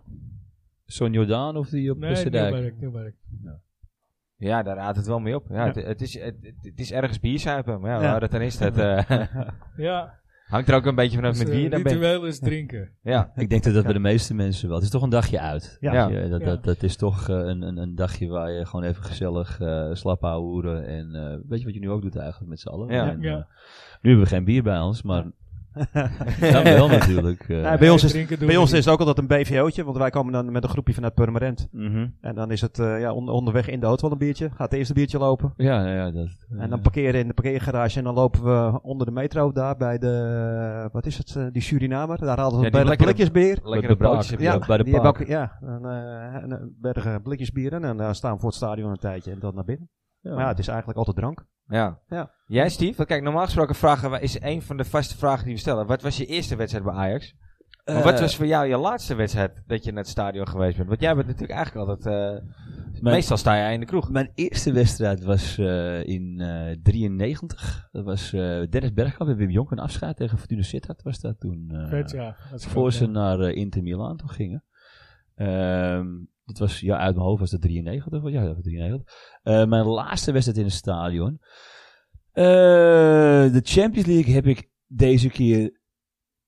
Son Jordaan of die op
Nee,
Busterdijk.
Nieuwmarkt, Nieuwmarkt.
Ja, daar raadt het wel mee op. Ja,
Ja.
Het, het is, het, het is ergens bierzuipen, maar ja,
Ja.
waar het dan is, dat eh, [laughs]
Ja,
hangt er ook een beetje vanaf
dus,
met
eh,
wie je dan bent.
ritueel is drinken.
Ja,
Ik denk dat dat bij de meeste mensen wel. Het is toch een dagje uit.
Ja.
Weet je, dat,
Ja.
dat, dat is toch eh, een, een, een dagje waar je gewoon even gezellig eh slap houden. En eh, weet je wat je nu ook doet eigenlijk met z'n allen?
Ja.
En,
Ja.
eh, nu hebben we geen bier bij ons, maar dan wel natuurlijk. eh.
Nou, bij ons,
Nee,
is,
drinken doen
bij
we
ons
niet.
is het ook altijd een BVO'tje, want wij komen dan met een groepje vanuit Purmerend.
Mhm.
En dan is het eh, ja, on- onderweg in de auto wel een biertje. Gaat het eerste biertje lopen.
Ja, nou ja, dat. eh,
En dan parkeren in de parkeergarage en dan lopen we onder de metro daar bij de, eh, wat is het, eh, die Surinamer. Daar haalden we
Ja, die
bij de
lekkere-
blikjesbeer.
lekkere
de Praag.
broodjes. heb je
Ja.
ook.
bij de
die hebben
Paak.
ook- Ja, een, eh, een, een berg blikjes bier en dan eh, staan we voor het stadion een tijdje en dan naar binnen. Maar ja, het is eigenlijk altijd drank.
Ja.
Ja.
Jij, Steve? Want kijk, normaal gesproken vragen we, is een van de vaste vragen die we stellen. Wat was je eerste wedstrijd bij Ajax? Maar wat
Eh,
was voor jou je laatste wedstrijd dat je naar het stadion geweest bent? Want jij bent natuurlijk eigenlijk altijd... eh,
mijn,
Meestal sta jij in de kroeg.
mijn eerste wedstrijd was eh, in eh 93. Dat was eh, Dennis Bergkamp en Wim Jonk een afscheid tegen Fortuna Sittard was dat toen. eh,
Vet, ja. Dat is
voor
goed,
ze
ja.
naar eh, Inter Milaan toe gingen. Ehm, dat was, ja, uit mijn hoofd was dat 93. want Ja, dat was 93. Eh, mijn laatste wedstrijd in het stadion. Eh, de Champions League heb ik deze keer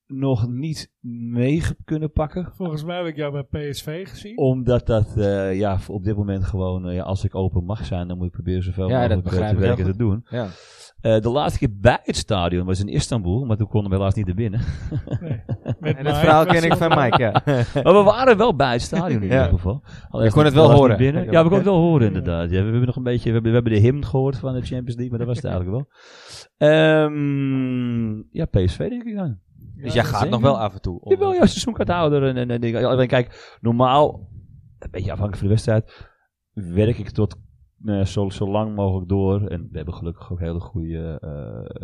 nog niet mee ge- kunnen pakken.
Volgens mij heb ik jou bij PSV gezien.
Omdat dat eh, ja, op dit moment gewoon, eh, ja, als ik open mag zijn, dan moet ik proberen zoveel
Ja, dat
mogelijk eh,
begrijp
te
ik heel
werken te
goed.
doen.
Ja.
Eh, de laatste keer bij het stadion was in Istanbul, maar toen konden we helaas niet naar binnen.
Nee. Met
En
Mike.
dat verhaal ken ik van Mike, ja.
Maar we waren wel bij het stadion in
Ja.
ieder geval. Alleen
Je kon het wel
helaas
horen.
niet binnen. Ja, we konden het wel horen inderdaad. Ja, we hebben nog een beetje, we hebben, we hebben de hymn gehoord van de Champions League, maar dat was het eigenlijk wel. Ehm, ja, PSV denk ik dan.
Dus jij
dat
gaat
zeker.
nog wel af en toe. om-
Ik wil juist seizoenkaarthouder en, en, en dingen. Alleen kijk, normaal, een beetje afhankelijk van de wedstrijd, werk ik tot eh, zo, zo lang mogelijk door. En we hebben gelukkig ook hele goede eh,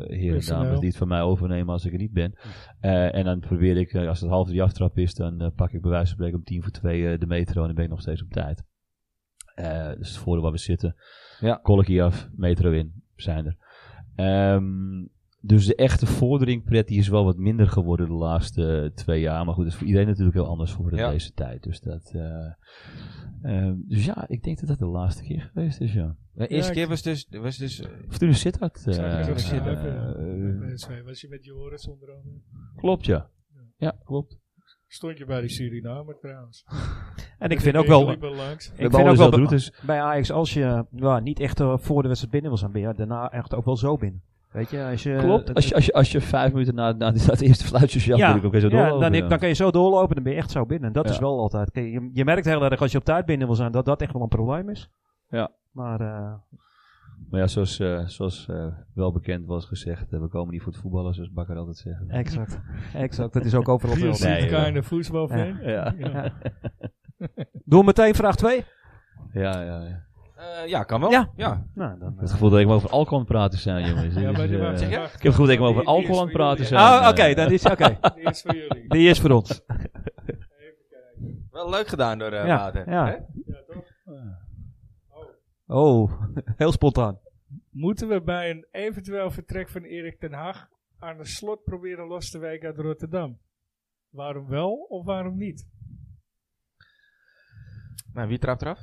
heren en
Personeel.
dames die het van mij overnemen als ik er niet ben. Eh, en dan probeer ik, eh, als het half drie aftrap is, dan eh, pak ik bij wijze van spreken om tien voor twee eh, de metro en dan ben ik nog steeds op tijd. Eh, dus het voordeel waar we zitten.
Ja.
Kolkkie af, metro in, zijn er. Ehm, dus de echte vorderingpret die is wel wat minder geworden de laatste eh, twee jaar. Maar goed, dat is voor iedereen natuurlijk heel anders geworden
Ja.
deze tijd. Dus, dat, eh, ehm, dus ja, ik denk dat dat de laatste keer geweest is, ja.
De eerste
Ja, ik-
keer was dus... Was dus eh,
Fortuna Sittard. eh,
Zou ik natuurlijk
eh,
zeggen,
eh,
bij PSV was je met Joris onder andere.
klopt, ja. Ja, klopt.
Stond je bij die Surinamer trouwens.
En ik vind ook wel,
Liepen langs.
We
ik
hebben
vind ook
alles
wel
wel dus-
be-
routes.
bij Ajax, als je nou, niet echt eh, voor de wedstrijd binnen wil zijn, ben je daarna echt ook wel zo binnen. Weet je, als je...
Klopt.
Eh, dat-
Als je, als, je, als je vijf minuten na, na, die- dat eerste fluitje zelf
Ja,
natuurlijk ook eens zo
ja,
doorlopen.
dan,
ja.
dan kan je zo doorlopen, dan ben je echt zo binnen. En dat
Ja.
is wel altijd. kijk, Je, je merkt heel erg als je op tijd binnen wil zijn dat dat echt wel een probleem is.
Ja.
Maar eh,
Maar ja, zoals, eh, zoals eh, wel bekend was gezegd, eh, we komen niet voor het voetballen, zoals Bakker altijd zegt. [laughs]
exact. exact. Dat is ook overal
Hier
veel.
Nee,
zit
joh.
kind of voetbalfan.
Ja,
Ja.
Ja. Doe meteen vraag 2.
ja, ja. ja.
eh, ja, kan wel.
Ja.
ja.
Nou, dan,
Het gevoel dat ik maar over alcohol aan het praten zijn, jongens.
Ja,
Dit
maar
is,
die
eh,
wou
ik
ik zeggen,
heb het gevoel dat ik maar over
Die- die is
alcohol aan het
voor
praten
jullie.
zijn.
Ah, oké,
eh.
dat is oké.
[laughs]
Die is voor jullie.
Die is voor ons.
Wel leuk gedaan door eh
Ja,
Wouter,
ja.
hè?
Ja, toch?
Oh, [laughs] heel spontaan.
Moeten we bij een eventueel vertrek van Erik ten Hag aan de slot proberen los te wijken uit Rotterdam? Waarom wel of waarom niet?
Nou, wie trapt eraf?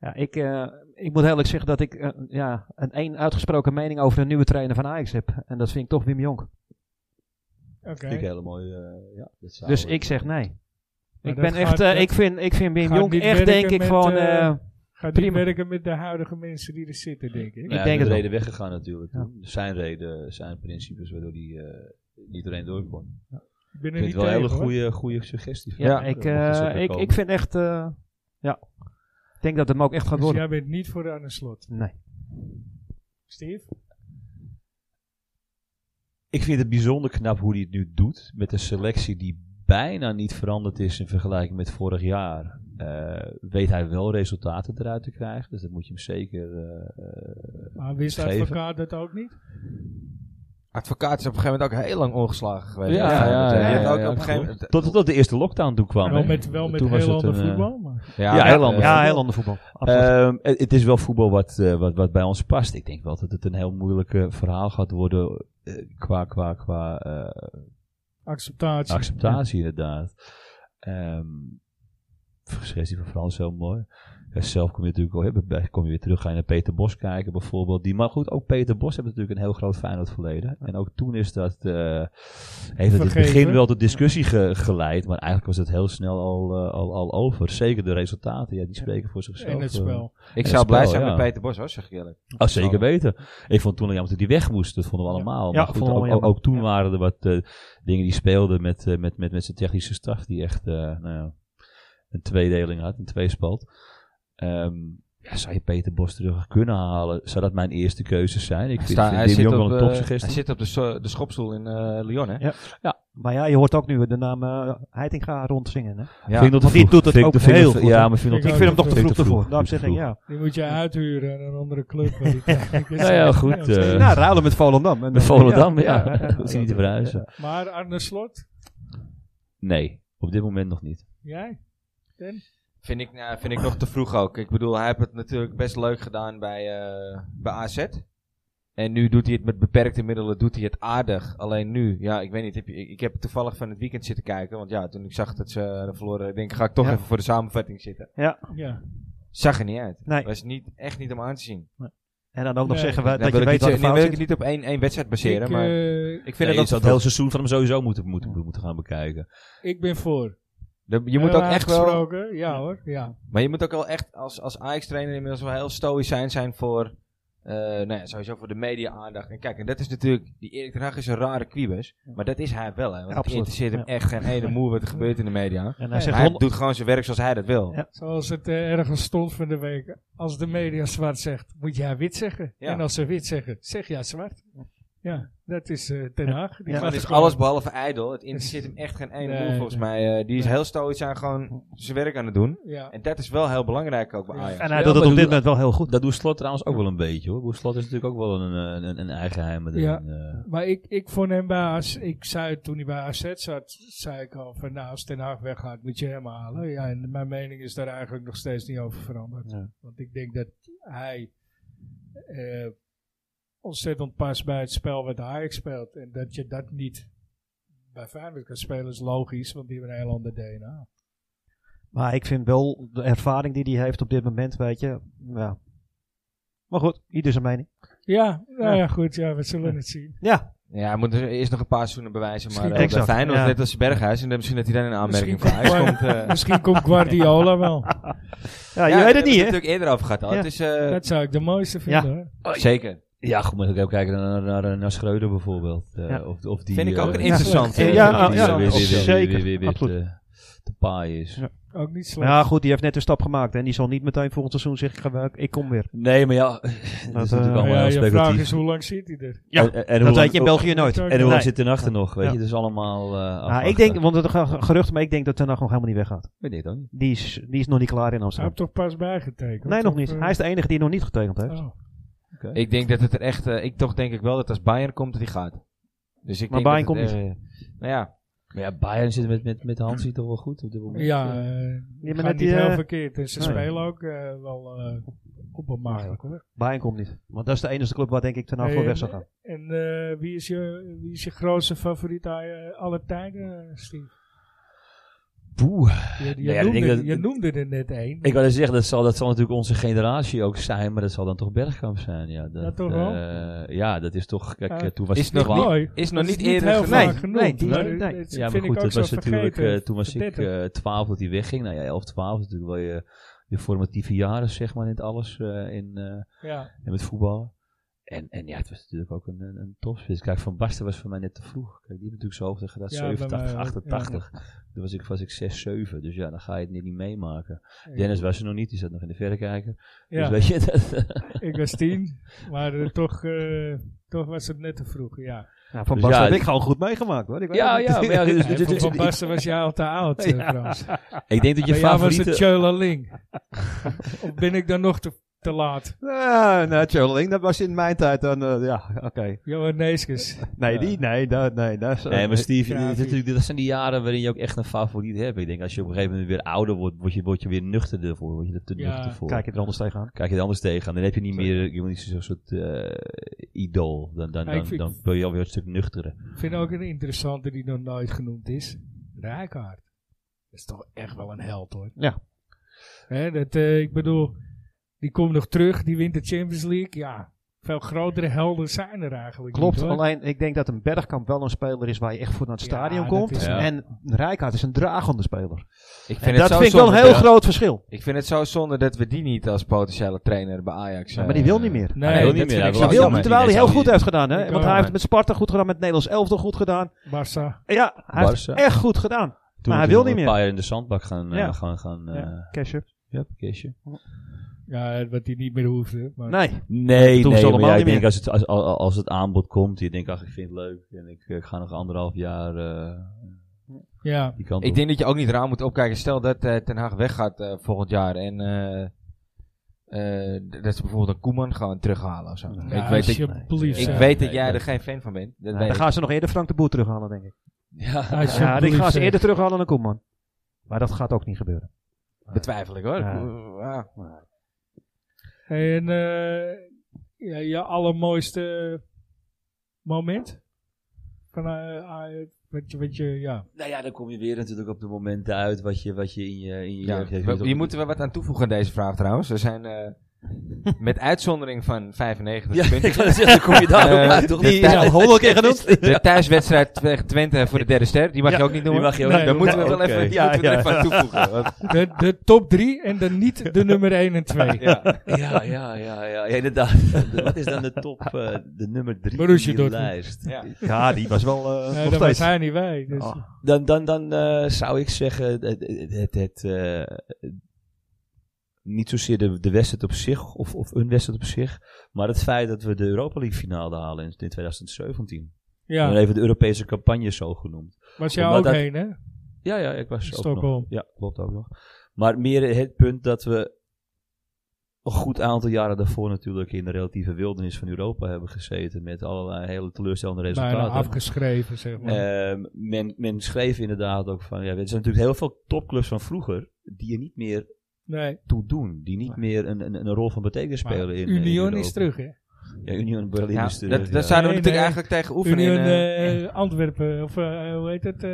Ja, ik, eh, ik moet eerlijk zeggen dat ik eh, ja, een één uitgesproken mening over een nieuwe trainer van Ajax heb. En dat vind ik toch Wim Jonk.
Nou,
Oké.
Vind ik hele mooi. eh, ja, dat zou-
Dus ik zeg nee.
Maar
Ik,
dat
ben echt,
gaat-
eh,
dat
ik, vind, ik vind Wim
gaat
Jonk
niet
echt,
werken
denk ik,
met,
gewoon...
eh,
eh,
Gaat niet
Prima.
werken met de huidige mensen die er zitten, denk ik.
Ja,
denk
met
het wel.
reden weggegaan natuurlijk.
Ja.
Zijn reden, zijn principes waardoor die eh niet doorheen door kon.
Ik ben
Ik
er
vind
niet
het wel een hele
tegen, hoor.
goede, goede suggestie.
ja, ik, eh, ik, ik vind echt... eh, ja. Ik denk dat het hem ook echt gaat
Dus
worden.
jij bent niet voor aan de slot.
Nee.
Steve?
ik vind het bijzonder knap hoe hij het nu doet. Met een selectie die bijna niet veranderd is in vergelijking met vorig jaar, eh, weet hij wel resultaten eruit te krijgen. Dus dat moet je hem zeker. eh, eh,
Maar Ah, wist
Geven.
advocaat dat ook niet?
Advocaat is op een gegeven moment ook heel lang ongeslagen geweest.
Ja, ja,
dat, eh,
ja,
je hebt
ja,
ook
ja,
op een gegeven moment...
tot, tot de eerste lockdown toen kwam.
Wel
hè.
met, wel met
Toen was
heel
het
ander
een, eh,
voetbal. Maar.
Ja, heel
dat,
ander
eh,
Ja, heel ander voetbal. Absoluut.
Ehm, het, het is wel voetbal wat, eh, wat, wat bij ons past. Ik denk wel dat het een heel moeilijk verhaal gaat worden eh, qua, qua, qua eh,
Acceptatie.
acceptatie inderdaad. Ehm Geschestie van Frans heel mooi. Ja, zelf kom je natuurlijk al hebben, bij- kom je weer terug, ga je naar Peter Bos kijken bijvoorbeeld. Die, maar goed, ook Peter Bos heeft natuurlijk een heel groot Feyenoord verleden. En ook toen is dat, eh, heeft het in het
Vergeven.
begin wel tot discussie ge- geleid. Maar eigenlijk was het heel snel al, eh, al, al over. Zeker de resultaten, ja, die spreken voor zichzelf.
in het
eh.
spel.
Ik
Ja,
zou blij
spel,
zijn
ja.
met Peter Bos, hoor, zeg ik eerlijk.
Oh, zeker weten. Ik vond toen al jammer dat hij weg moest. Dat vonden we
Ja.
allemaal.
Ja,
maar goed,
vonden we
ook, ook,
jammer.
ook toen
Ja.
waren er wat eh, dingen die speelden met, eh, met, met, met zijn technische staf. Die echt eh, nou ja, een tweedeling had, een tweespalt. Ehm ja, zou je Peter Bos terug kunnen halen? Zou dat mijn eerste keuze zijn? Ik
Hij,
vind,
sta-
vind
hij
Dim
zit,
Jong
op,
wel een
eh,
topsuggestie.
hij zit op de, so- de schopstoel in eh, Lyon, hè?
Ja. Maar ja, je hoort ook nu de naam eh Heitinga rondzingen. Hè?
Ja.
Vind ik dat
want
te
die
vroeg.
doet het
Vind ik-
ook
vind ik
heel
te-
goed,
Ja,
hoor.
maar vind
Ik
dat
Ik
ook.
vind hem toch te
Vind
vroeg
ik te
ervoor.
vroeg.
Daarom
Vind
zeg
ik
ik
te
ja.
Die moet je uithuren aan een andere club.
[laughs]
maar die-
Nou ja, goed.
Ja,
eh,
Nou, ruilen met Volendam. En
met
dan-
Volendam, ja. Dat is niet te verhuizen.
Maar Arne Slot,
Nee, op dit moment nog niet.
jij?
Vind ik, nou, vind ik nog te vroeg ook. Ik bedoel, hij heeft het natuurlijk best leuk gedaan bij, eh, bij AZ. En nu doet hij het met beperkte middelen, doet hij het aardig. Alleen nu, ja, ik weet niet. Heb je, ik ik heb toevallig van het weekend zitten kijken. Want ja, toen ik zag dat ze eh, verloren, ik denk ga ik toch
Ja.
even voor de samenvatting zitten.
Ja.
Zag er niet uit.
Nee.
Was niet, echt niet om aan te zien.
En dan ook nog
Nee,
zeggen we,
Dan
dat
wil
je
ik
weet
niet,
wat de
zeggen-
fout
nee, wil ik
is.
het niet op één, één wedstrijd baseren.
ik,
maar
eh,
ik vind
Nee,
het
je
ook
zou
te
het
vroeg.
hele seizoen van hem sowieso moeten, moeten, moeten gaan bekijken.
eh, ik ben voor.
De- Je moet ook
Hebben we
echt wel
afgesproken? Ja hoor, ja.
Maar je moet ook wel echt als, als Ajax-trainer inmiddels wel heel stoïcijn zijn voor, eh nou ja, sowieso voor de media-aandacht. En kijk, en dat is natuurlijk, die Erik ten Hag is een rare kwiebus, maar dat is hij wel. Hè, want
Ja,
het
absoluut.
interesseert hem
Ja.
echt geen ene moer wat er gebeurt in de media.
En hij
Maar
zegt
hij
hond-
doet gewoon zijn werk zoals hij dat wil.
Ja.
Zoals het eh, ergens stond van de week. Als de media zwart zegt, moet jij wit zeggen.
Ja.
En als ze wit zeggen, zeg jij zwart. Ja, dat is eh Den Haag. Die
Ja,
Maar
gaat
het is
gewoon-
alles behalve ijdel. Het interesseert hem echt geen ene
Nee,
moer volgens
nee.
mij. eh, die is heel stoïcijn gewoon zijn werk aan het doen.
Ja.
En dat is wel heel belangrijk ook bij
Ja.
Ajax.
En hij
Ja,
doet het
maar
op
doe-
dit moment wel heel goed.
Dat doet Slot trouwens ook wel een beetje hoor. Boer Slot is natuurlijk ook wel een, eh, een, een eigen geheim. erin,
Ja.
eh.
Maar ik, ik vond hem bij AZ, ik zei toen hij bij AZ zat, zei ik al van nou als Ten Haag weggaat moet je hem halen. Ja, en mijn mening is daar eigenlijk nog steeds niet over veranderd.
Ja.
Want ik denk dat hij eh, ontzettend past bij het spel wat Ajax speelt. En dat je dat niet bij Feyenoord kan spelen is logisch, want die hebben een heel ander DNA.
Maar ik vind wel de ervaring die hij heeft op dit moment, weet je. Ja. Maar goed, ieder zijn mening.
Ja, nou ja,
Ja.
goed, ja, we zullen het zien.
Ja,
Ja, hij moet er eerst nog een paar seizoenen bewijzen. Maar
Misschien
eh, bij
exact,
Feyenoord,
ja.
net als Berghuis, en dan misschien dat hij dan in aanmerking voor Ajax
Misschien
komt.
[laughs]
eh.
Misschien komt Guardiola
[laughs]
wel.
ja Ah, je weet het niet,
We hebben
hè?
het natuurlijk eerder over gehad. al.
Ja.
Het is, eh,
Dat zou ik de mooiste vinden. hoor.
Oh,
Zeker.
ja, goed, maar ik ook kijken naar, naar, naar, naar Schreuder bijvoorbeeld. eh,
Ja.
of, of die,
Vind ik ook
eh,
een interessant.
Ja,
eh,
ja,
die-
die
ja,
weer- weer- weer- weer-
zeker,
weer- weer- weer
absoluut.
te- te paai is.
Ja.
Ook niet
Nou,
Maar
slecht.
ja, goed, die heeft net een stap gemaakt. En die zal niet meteen volgend seizoen zeggen, ik ga- ik kom weer.
Nee, maar ja, [laughs] dat is
eh,
natuurlijk allemaal
ja,
heel
je vraag is
speculatief.
hoe lang zit hij er?
Ja,
En- en, en hoe
Dat
lang,
weet je in België nooit.
en
en hoe lang
Nee.
zit de nacht er nog? Weet
Ja.
je, het is allemaal. eh
Nou, ik
afwachten.
denk, want het ge- gerucht, maar ik denk dat Ten Hag nog helemaal niet weggaat.
Weet ik ook niet.
Die is, die is nog niet klaar in
Hij
Amsterdam.
heeft toch pas bijgetekend?
Nee, nog
Of,
niet.
eh,
Hij is de enige die nog niet getekend heeft.
oh.
Ik denk dat het er echt... eh, ik toch denk ik wel dat als Bayern komt, dat hij gaat. Dus ik
Maar
denk
Bayern
dat het, eh, nou ja.
Maar ja, Bayern zit met, met, met Hansi toch wel goed op dit moment.
Ja, eh gaat
maar net
niet
die,
heel
eh,
verkeerd. En ze
nee.
spelen ook eh, wel eh oppermachtig hoor.
Bayern komt niet. Want dat is de enige club waar denk ik Ten Hag
Nee,
voor weg zou gaan.
En eh, wie, is je, wie is je grootste favoriet eh, alle tijden, eh, Steve?
Boe.
Je, je,
Nou ja, ik
noemde,
denk dat-
je noemde er net één.
Ik wou net zeggen, dat zal, dat zal natuurlijk onze generatie ook zijn, maar dat zal dan toch Bergkamp zijn. Ja, dat,
Ja, toch wel?
eh, ja, dat is toch... Kijk,
Ja.
eh, toen was
Is
het
nog
twaalf-
niet-
mooi.
Is nog
Dat
niet,
is
eerder
heel
gedaan.
vaak
vaak. Nee,
genoemd.
nee, die-
maar,
nee.
dat
Ja, maar
vind
goed,
ik ook
dat
zo
was natuurlijk...
vergeten.
eh, toen was ik
Verdertig.
eh 12 dat hij wegging. Nou ja, 11, 12 is natuurlijk wel je, je formatieve jaren, zeg maar, in het alles. eh, in, eh,
ja.
en met voetbal. En, en ja, het was natuurlijk ook een, een, een topspits. Kijk, Van Basten was voor mij net te vroeg. Kijk, die heeft natuurlijk zo hoog tegen dat
Ja, bij
87,
mij ook,
88. Toen was ik, was ik 6, 7. Dus ja, dan ga je het net niet meemaken.
Ik-
Dennis was er nog niet, die zat nog in de verrekijker. Dus
ja,
weet je, dat,
ik was tien, maar eh, toch, eh, toch was het net te vroeg, ja.
Ja, van
Dus
Bas
ja,
heb
dit-
ik gewoon goed meegemaakt hoor. Ik weet
Ja,
het.
ja, maar [laughs] ja, dit is-
Nee,
dit
voor
is-
Van Basten was jij al te oud, eh, Frans.
ik denk dat je
Bij jou was
favoriete...
het Tjöla Ling. of ben ik dan nog te, te laat?
Ja, nou, Tjodeling, dat was in mijn tijd dan, eh, ja, oké.
Johan Neeskens.
Nee, die, nee, dat, nee, dat is... eh,
Nee, maar Steve,
Ja,
dit is
vind-
natuurlijk- dat zijn die jaren waarin je ook echt een favoriet hebt. Ik denk, als je op een gegeven moment weer ouder wordt, word je, word je weer nuchterder voor. Word je er te
Ja.
nuchter voor.
Kijk je er anders tegenaan?
Kijk je er anders tegenaan. Dan heb je niet meer je moet niet zo'n soort eh, idool. Dan, dan,
Ja,
dan,
ik vind-
dan wil je alweer een stuk nuchtere.
Ik vind ook een interessante die nog nooit genoemd is. Rijkaard. Dat is toch echt wel een held hoor.
Ja.
Hè, dat, eh, ik bedoel, die komt nog terug, die wint de Champions League. Ja, veel grotere helden zijn er eigenlijk
Klopt,
niet, hoor.
alleen ik denk dat een Bergkamp wel een speler is waar je echt voor naar het
Ja,
stadion
dat
komt.
is-
Ja.
En Rijkaard is een dragende speler.
Ik vind
En
het
dat
zo
vind ik wel een
zonde
heel
dat-
groot verschil.
Ik vind het zo zonde dat we die niet als potentiële trainer bij Ajax
maar die
eh,
wil niet meer.
Nee,
Nee,
wil
dat
niet
vind
meer.
ik
Hij
zo
wil-
Hij
jammer.
wil,
maar
terwijl hij
die
heel
mensen
goed
die-
heeft gedaan. Hè?
Ik
Want
ook.
hij heeft het met Sparta goed gedaan, met het Nederlands elftal goed gedaan.
Barça.
Ja, hij heeft
Barca.
het echt goed gedaan.
Toen
hij
we
wil
nog
niet
een
meer.
paar jaar in de zandbak gaan, eh,
Ja.
gaan, gaan eh, ja.
Ja. Casher.
kistje.
Ja, wat die niet meer hoefde. Maar
Nee,
Nee. Toen
nee,
ze
maar
allemaal
ja, ik
niet
denk
meer.
als het, als, als, als het aanbod komt, je denkt, ach, ik vind het leuk. En ik, eh, ik ga nog anderhalf jaar eh,
ja,
die kant
Ik
op.
denk dat je ook niet raar moet opkijken. Stel dat eh, Ten Haag weggaat eh, volgend jaar en eh, eh, d- dat ze bijvoorbeeld een Koeman gewoon terughalen of zo.
Ja,
ik weet, dat,
alsjeblieft.
ik
zeg.
weet dat
Nee,
jij
nee.
er geen fan van bent. Dat
Dan
weet ik.
gaan ze nog eerder Frank de Boer terughalen, denk ik.
Ja.
Alsjeblieft,
Ja, die gaan ze
zeg.
eerder terughalen dan Koeman. Maar dat gaat ook niet gebeuren.
Betwijfel ik hoor.
Ja.
Ik- ja.
En eh, ja, je allermooiste moment? Van, eh, ah, wat je, wat je, ja.
Nou ja, dan kom je weer natuurlijk op de momenten uit wat je, wat je in je... In je
Ja.
jeugd hebt.
We- Hier moeten we wat aan toevoegen aan deze vraag trouwens. Er zijn
[laughs]
eh, met uitzondering van 95
Ja,
punten.
ik wou zeggen, dan kom je daar ook
Eh,
uit, toch? [laughs]
die is al
honderd keer genoemd.
De thuiswedstrijd tegen Twente voor de derde ster, die mag je ook niet
Die
noemen.
mag je ook
Nee,
niet
Daar
doen.
moeten we wel
Nou,
even, die
oké.
moeten we er even aan toevoegen. want-
De, de top drie en dan niet de nummer 1 en 2.
ja.
[laughs] Ja, ja, ja, ja, ja, [laughs] inderdaad. De- Wat is dan de top, eh, de nummer drie in
Borussia
die
Dortmund.
lijst?
Ja.
Ja, die was wel eh,
Nee,
nog
dat was
steeds.
hij niet wij. Dus.
Oh.
Dan, dan, dan eh, zou ik zeggen, het, het, het, het, eh, niet zozeer de, de wedstrijd op zich, of, of een wedstrijd op zich, maar het feit dat we de Europa League finale halen in, in 2017. En Dan
Ja,
even de Europese campagne zo genoemd.
was jij
Omdat
ook
dat-
heen, hè?
Ja, ja, ik was ook nog.
Stockholm.
Ja, klopt ook nog. Maar meer het punt dat we een goed aantal jaren daarvoor natuurlijk in de relatieve wildernis van Europa hebben gezeten met allerlei hele teleurstellende
Bijna
resultaten.
afgeschreven, zeg maar.
Ehm, men, men schreef inderdaad ook van, ja, er zijn natuurlijk heel veel topclubs van vroeger die er niet meer
nee,
toe doen, die niet meer een, een, een rol van betekenis
maar
spelen in in
Union
Europa.
is terug, hè?
Ja, Union Berlin
Ja,
is terug.
dat,
ja.
dat zouden we natuurlijk
Nee, nee.
eigenlijk tegen oefenen.
Union
in, eh,
eh, Antwerpen, of eh, hoe heet het? eh,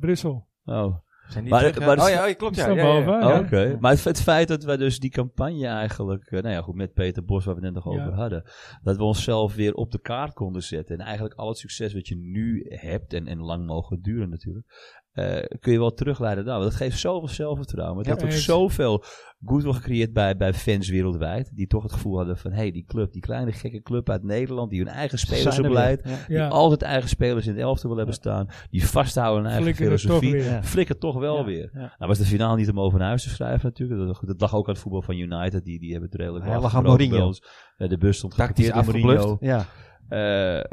Brussel.
Oh.
Zijn die
Maar-
terug, hè?
maar-
oh ja, oh ja, klopt ja.
Staan
ja, ja, ja.
boven,
Oh,
ja.
Oké, maar het, het feit dat wij dus die campagne eigenlijk, eh, nou ja goed, met Peter Bos waar we het net nog
Ja.
over hadden, dat we onszelf weer op de kaart konden zetten. En eigenlijk al het succes wat je nu hebt, en, en lang mogen duren natuurlijk, eh, kun je wel terugleiden daar. Want dat geeft zoveel zelfvertrouwen. Het
Ja,
heeft ook
eens.
zoveel goodwill gecreëerd bij, bij fans wereldwijd, die toch het gevoel hadden van, hé, hey, die club, die kleine gekke club uit Nederland, die hun eigen spelers
Zijn er
opleidt,
weer. Ja.
Ja,
die altijd eigen spelers in de elfte wil hebben staan, die vasthouden aan hun eigen
flikkeren toch
filosofie.
weer.
Ja.
Flikker toch wel
Ja,
weer.
ja.
Nou was de finale niet om over naar huis te schrijven natuurlijk. Dat, dat lag ook aan het voetbal van United. Die, die hebben het redelijk wel
Hij lag aan
afgebroken bij
Mourinho.
ons. Eh, de bus stond
Tactisch
geparkeerd door Mourinho.
Ja.
Eh,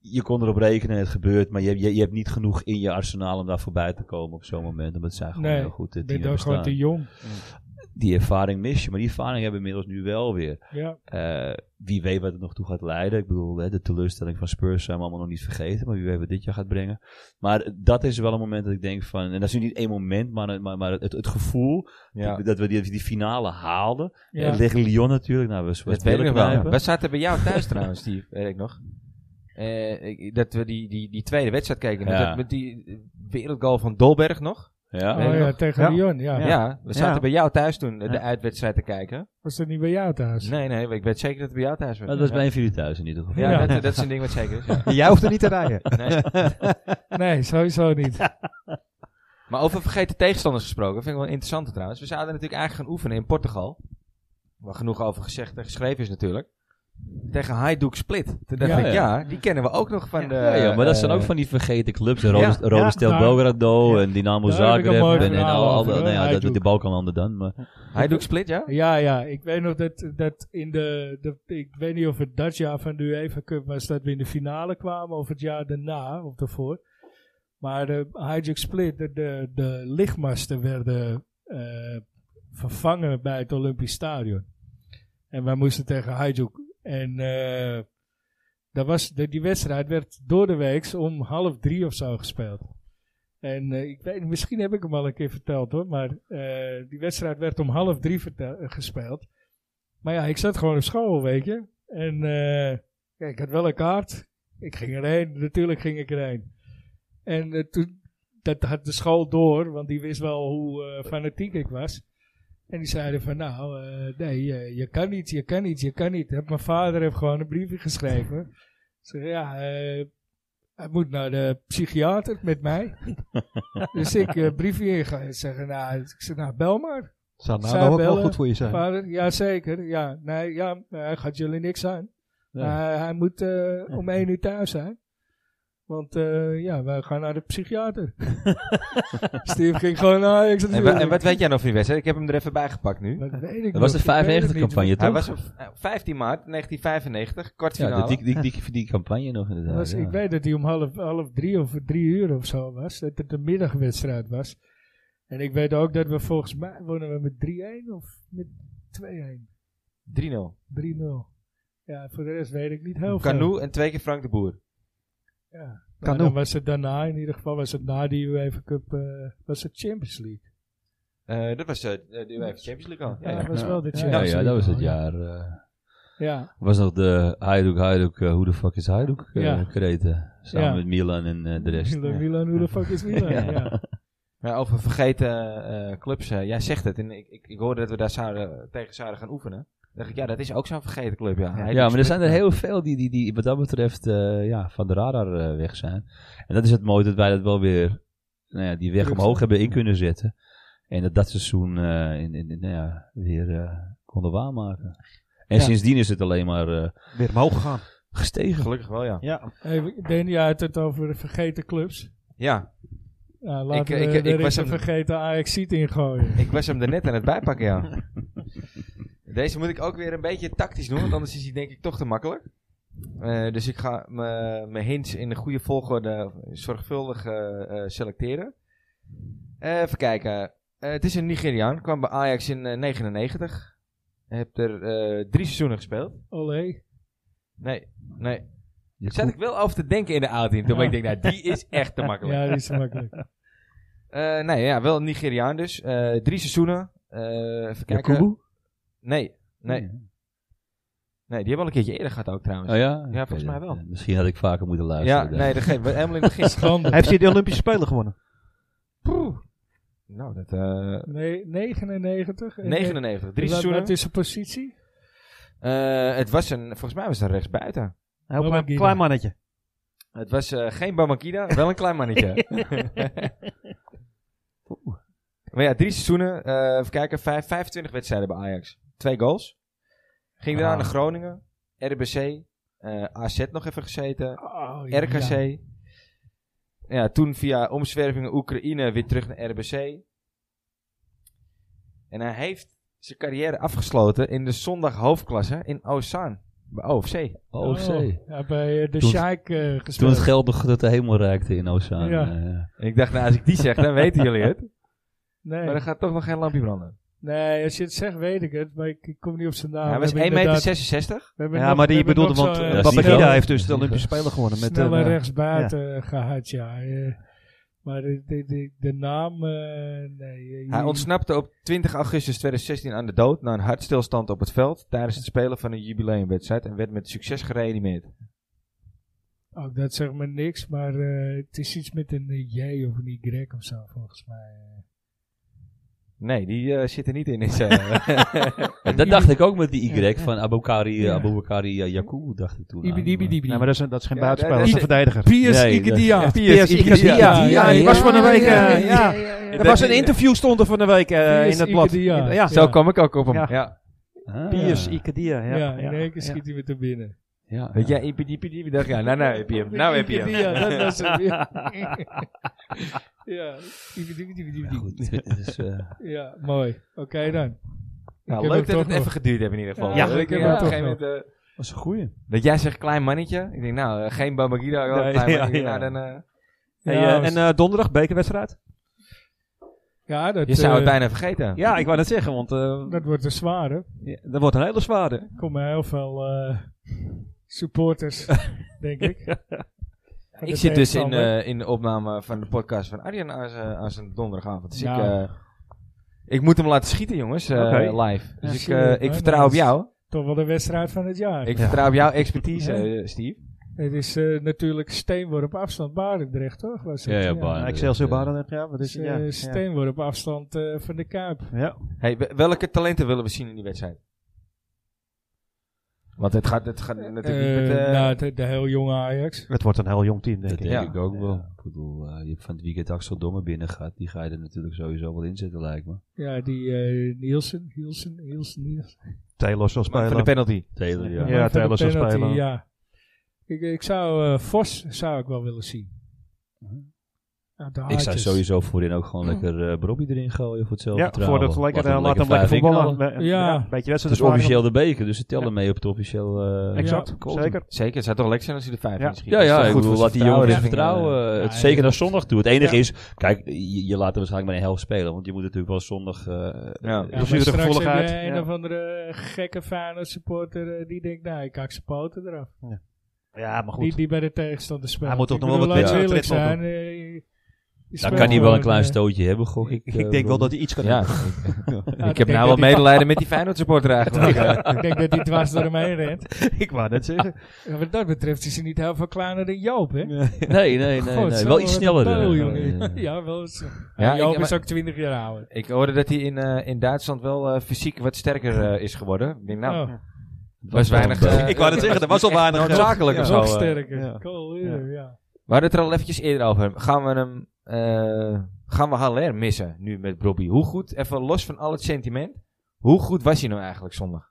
je kon erop rekenen, het gebeurt. Maar je, je, je hebt niet genoeg in je arsenaal om daar voorbij te komen op zo'n moment. Omdat zij gewoon
Nee,
heel goed het
ben
team
je ook
hebben staan.
gewoon te jong.
Die ervaring mis je. Maar die ervaring hebben we inmiddels nu wel weer.
Ja,
Eh, wie weet wat het nog toe gaat leiden. Ik bedoel, hè, de teleurstelling van Spurs zijn we allemaal nog niet vergeten. Maar wie weet wat dit jaar gaat brengen. Maar dat is wel een moment dat ik denk van... En dat is nu niet één moment, maar, maar, maar het, het gevoel
Ja.
dat we die, die finale haalden.
ja.
En tegen Lyon natuurlijk. Nou, we
Dat weet ik nog wel. We zaten bij jou thuis trouwens, Steve, weet ik nog. Eh, ik- dat we die, die, die tweede wedstrijd keken. Met,
Ja.
dat- met die eh, wereldgoal van Dolberg nog.
Ja.
weet
oh
ik
ja,
nog.
tegen
Ja.
Lyon, ja.
Ja, we
Ja.
zaten bij jou thuis toen eh,
Ja.
de uitwedstrijd te kijken.
Was dat niet bij jou thuis?
Nee, nee, ik weet zeker dat het bij jou thuis was.
Nou, Dat was
Ja.
bij een jullie thuis in ieder geval.
Ja,
Ja.
Dat, dat is een ding wat zeker is. ja.
Jij hoeft er niet te rijden.
[laughs] Nee.
Nee, sowieso niet.
Maar over vergeten tegenstanders gesproken, vind ik wel interessant trouwens. We zouden natuurlijk eigenlijk gaan oefenen in Portugal. Waar genoeg over gezegd en geschreven is natuurlijk. Tegen Hajduk Split. Toen dacht
Ja,
ik,
ja.
ja, die kennen we ook nog van de...
Ja, ja, maar dat zijn
eh,
ook van die vergeten clubs. Rode, Rode
ja,
Stel
daar-
Belgrado
ja.
en Dynamo
Daar heb ik een mooi
Zagreb. En, en
verhaal
al, al
over,
dat-
hoor,
nou ja, dat,
Hajduk.
de Balkanlanden dan. Maar
Hajduk Split, ja?
Ja, ja, ik weet nog dat, dat in de, de- Ik weet niet of het dat jaar van de UEFA Cup was dat we in de finale kwamen, of het jaar daarna of daarvoor. Maar de Hijack Split, de, de, de lichtmasten werden eh, vervangen bij het Olympisch Stadion. En wij moesten tegen Hijack. En eh, dat was, de, die wedstrijd werd door de weeks om half drie of zo gespeeld. En eh, ik weet, misschien heb ik hem al een keer verteld hoor, maar eh, die wedstrijd werd om half drie vertel- eh, gespeeld. Maar ja, ik zat gewoon op school, weet je. En eh, ja, ik had wel een kaart. Ik ging erheen, natuurlijk ging ik erheen. En eh, toen, dat had de school door, want die wist wel hoe eh, fanatiek ik was. En die zeiden van, nou, eh, nee, eh, je kan niet, je kan niet, je kan niet. Heb- Mijn vader heeft gewoon een briefje geschreven. Ik zeg, ja, eh, hij moet naar de psychiater met mij. dus ik eh, briefje ingaan en zeggen, nou, ik zeg, nou, bel maar.
Zou
Zij
nou ook wel
bellen,
goed voor je zijn.
Vader, ja zeker, ja. Nee, ja, nou, hij gaat jullie niks aan.
Nee.
Maar hij moet eh, om één uur thuis zijn. Want eh, ja, wij gaan naar de psychiater. Steve ging gewoon naar Ajax
En, wa- en
natuurlijk.
wat
Hmm.
weet jij nog van die wedstrijd? Ik heb hem er even bij gepakt nu.
Dat weet ik
Dat was de
nog, ik weet het
95
niet.
campagne
Hij
toch?
was op eh, 15 maart 1995, kwartfinale.
ja, die, die, die, die campagne nog
Dat
inderdaad.
was-
ja.
Ik weet dat hij om half, half drie of drie uur of zo was. Dat het een middagwedstrijd was. En ik weet ook dat we volgens mij wonnen we met 3-1 of met 2-1.
3-0.
3-0. Ja, voor de rest weet ik niet heel veel.
Oh,
Canoe en twee keer Frank de Boer.
Ja. Maar
Canoe.
dan was het daarna, in ieder geval was het na die UEFA Cup, eh, was het Champions League.
Eh, dat was eh, de UEFA Champions League al. Ja,
Ja,
ja.
dat was wel de
Ja,
Champions
ja,
League.
dat was het
al,
jaar. eh
Ja,
was nog de Hajduk, Hajduk, eh, hoe de fuck is Hajduk? eh
Ja.
kreten. Samen
Ja.
met Milan en eh, de rest.
Milan, Milan, hoe de fuck is
[laughs]
Milan?
Ja.
ja. Ja.
Maar over vergeten eh, clubs. eh, jij zegt het. En ik, ik, ik hoorde dat we daar zouden, tegen zouden gaan oefenen. Dan dacht ik, ja, dat is ook zo'n vergeten club. Ja, Hij
Ja, maar er
doet
zijn er
split-
heel veel die, die, die wat dat betreft eh, ja, van de radar eh, weg zijn. En dat is het mooie dat wij dat wel weer, nou ja, die weg
Terug
omhoog hebben in kunnen zetten. En dat dat seizoen eh, in, in, in, nou ja, weer eh, konden waarmaken. En
Ja.
sindsdien is het alleen maar eh,
Weer omhoog gegaan.
gestegen.
Gelukkig wel, ja.
Ja.
Even, Danny had het over de vergeten clubs.
Ja,
Nou, laten
Ik-
we
ik-
er
ik was
eens een
hem-
vergeten Ajax-seat ingooien.
ik was hem er net aan het bijpakken, ja. Deze moet ik ook weer een beetje tactisch doen, want anders is hij denk ik toch te makkelijk. Eh, dus ik ga me- mijn hints in de goede volgorde zorgvuldig eh, eh, selecteren. Eh, even kijken. Eh, het is een Nigeriaan, kwam bij Ajax in eh, 1999. Heb er eh, drie seizoenen gespeeld.
Olé.
Nee, nee.
Je
Zat ik wel over te denken in de a toen, maar ik denk, nou, die is echt te makkelijk.
Ja, die is makkelijk.
Eh, nee, ja, wel een Nigeriaan dus. Eh, drie seizoenen. Eh, even kijken.
Yakubu?
Nee, nee, nee. Die hebben we al een keertje eerder gehad ook trouwens.
Hmm. Oh ja?
Ja, volgens
Oké,
mij wel.
eh, Misschien had ik vaker moeten
ja,
luisteren.
nee, dat geeft we helemaal in het
[laughs]
begin.
Schande.
Heeft hij de Olympische Spelen gewonnen?
Poeh. Nou, dat... eh
Nee, 99. En, eh,
99, drie
wat-
seizoenen.
Wat is zijn positie?
Eh, het was een, volgens mij was het een rechtsbuiten.
Heel klein,
Bamagina.
klein mannetje.
Het was eh, geen Bamakida, wel een klein mannetje. Oeh. maar ja, drie seizoenen. eh even kijken, vijf, 25 wedstrijden bij Ajax. Twee goals. Ging daarna
Ah.
naar Groningen, RBC, eh, AZ nog even gezeten.
Oh, ja.
RKC. Ja, toen via omzwervingen Oekraïne weer terug naar RBC. En hij heeft zijn carrière afgesloten in de zondag hoofdklasse in Ozaan. Bij OFC.
Oh, OFC.
ja, bij eh, de
Toen-
Sjaak eh,
Toen
gespeeld.
het geld nog dat de hemel reikte in Ozaan.
Ja.
eh, ja.
En ik dacht, nou, als ik die zeg, dan weten jullie het.
nee.
Maar er gaat toch nog geen lampje branden.
nee, als je het zegt weet ik het, maar ik, ik kom niet op zijn naam.
hij
Nou, We
was
hebben
1,66 meter.
inderdaad-
66.
we hebben
Ja,
nog-
maar
we
die
hebben
bedoelde,
nog
want
zo'n,
eh,
uh,
eh,
Ja,
snelle-
Zico.
heeft dus de
Zico.
Olympische Spelen gewonnen. Met, eh,
snelle rechtsbuiten eh, gehad, ja. eh. maar de, de, de, de naam, eh, nee. eh,
Hij ontsnapte op 20 augustus 2016 aan de dood na een hartstilstand op het veld tijdens het spelen van een jubileumwedstrijd en werd met succes gereanimeerd.
Ook oh, dat zegt me niks, maar eh, het is iets met een eh, J of een Y of zo, volgens mij.
Nee, die eh, zit er niet in. Is,
[laughs]
eh,
En dat dacht ik ook met die Y van Aboukari,
Ja.
Aboukari eh, Yakubu, dacht ik toen. aan,
Ibi dibi
maar-
dibi.
Nee, maar dat is, dat is geen
Ja,
buitenspel,
dat
dat
is-
is een verdediger.
Piers
Nee,
Ikidia.
dat-
Piers Ikedia.
Ja, ja,
die was
ja,
van een week.
ja,
eh, Ja, Er was een interview stond er van de week eh,
Piers
in het blad.
Ikedia.
Ja,
Zo kwam ik ook op hem.
Ja.
Ja.
Ah,
Piers,
ja.
Ikadia. Ja,
Ja, in één keer
ja.
schiet hij weer te binnen.
Ja,
Weet
ja.
jij, ipidiepidie, we dachten, ja, nou, nou heb je hem, nou heb je hem.
Ja, dat
[laughs]
was hem. Ja. ja.
Ja, goed. Het is, eh,
Ja, mooi. Oké dan.
Nou,
Ik heb
leuk
hem
dat het
toch
even geduurd heeft in ieder geval.
Ja,
Dat
ik
ik
heb
eh,
hem
op een
toch
gegeven moment, eh,
dat is een goeie.
dat jij zegt klein mannetje. Ik denk, nou, eh, geen Bambagida, wel
Nee,
een klein
ja,
mannetje.
ja.
Nou, dan, eh,
Hey,
Ja,
eh, en eh, donderdag, bekerwedstrijd?
Ja, dat,
je zou het
eh,
bijna vergeten.
Ja, ik wou net zeggen, want eh,
dat wordt een zware.
ja, dat wordt een hele zware.
Er komen heel veel eh,
[laughs]
supporters, denk ik. Van de
Ik zit dus in,
tegenstander.
eh, in de opname van de podcast van Arjen aan zijn- aan zijn donderdagavond. Dus ik,
Nou.
eh, ik moet hem laten schieten, jongens, eh,
Oké.
live.
Ja,
Dus ik,
zie je,
eh,
hè,
ik vertrouw op
dat is-
jou.
Toch wel de wedstrijd van het jaar.
Ik vertrouw op jouw expertise,
Ja.
eh, Steve.
Het is eh, natuurlijk steenworp afstand Barendrecht, toch? Was het?
Ja, ja, Barendrecht.
Ja,
Ja,
Nou, Excelsior
dat, eh,
Barendrecht, ja. Wat is
Dus,
het? Ja,
eh,
ja.
steenworp afstand eh, van de Kuip.
Ja.
Hey, we- welke talenten willen we zien in die wedstrijd? Want het gaat, het gaat natuurlijk niet met...
Eh,
eh,
nou, de, de heel jonge Ajax.
Het wordt een heel jong team, denk
Dat
ik.
denk
Ja.
ik ook wel. Ik bedoel, eh, je hebt van het weekend Axel Domme binnen gehad. Die ga je er natuurlijk sowieso wel inzetten, lijkt me.
Ja, die eh Nielsen, Nielsen, Nielsen, Nielsen.
Taylor zal
maar van de
spelen.
penalty.
Taylor, ja.
Ja.
Maar van de
Taylor zal
penalty,
spelen.
Ja. Ik, ik zou eh, Vos zou ik wel willen zien. Ja, de
Ik zou
haartjes.
sowieso voorin ook gewoon lekker eh Brobby erin gooien voor hetzelfde
Ja, voordat we lekker,
Laat
eh, laat hem lekker
vijf
voetballen.
inknallen.
Be-
Ja.
een beetje
Het
wedstrijd.
is officieel de beker, dus ze tellen mee op het officieel... eh,
Exact,
quotum.
zeker.
Zeker, het zou toch lekker zijn als hij de vijf
Ja.
in schiet.
Ja,
Dat is
ja,
toch
ik
goed
bedoel,
voor
laat die
zijn
jongen het
richting,
vertrouwen.
eh,
eh, het,
ja,
zeker naar zondag toe. Het enige
Ja.
is, kijk, je, je laat er waarschijnlijk maar een helft spelen. Want je moet natuurlijk wel zondag...
Ja.
eh,
Ja,
eh,
maar
Blessure
straks heb
gevoeligheid,
je een
ja.
of andere gekke Feyenoord supporter eh, die denkt, nou, ik hak zijn poten eraf.
Ja, maar
Die,
goed.
die bij de tegenstander speelt.
Hij moet toch
Ik
nog wel
bedoel,
wat
laten we
wedstrijd-
eerlijk zijn.
wedstrijd
eh, je- je
dan
speelt
kan hij wel een
gewoon,
klein
eh,
stootje hebben, gok ik.
Ik,
eh,
denk wel
Brobby.
dat hij iets kan
Ja,
doen.
ik heb
denk
nou wel
dat hij-
medelijden met die Feyenoord supporter
[laughs]
[laughs]
eigenlijk. eh.
Ik denk dat hij dwars door hem heen rent.
[laughs] ik wou net
[laughs]
zeggen.
Ja, wat dat betreft is hij niet heel veel kleiner dan Joop, hè?
Nee, nee, nee.
God,
nee. Wel
zo,
iets
wat een
sneller.
peul,
eh,
jongen.
eh,
Ja, wel eens.
Ja,
Joop
ik-
is ook 20 jaar ouder.
Ik hoorde dat hij in, eh, in Duitsland wel eh, fysiek wat sterker
[laughs]
eh, is geworden. Ik denk, nou,
Oh,
was weinig... eh,
ik wou net zeggen, er was al weinig. geld.
noodzakelijk
Ja.
of zo.
nog
eh.
sterker.
ja.
Cool, ja. ja.
We hadden het er al eventjes eerder over. Gaan we hem... eh, gaan we Haller missen nu met Bobby? Hoe goed, even los van al het sentiment... Hoe goed was hij nou eigenlijk zondag?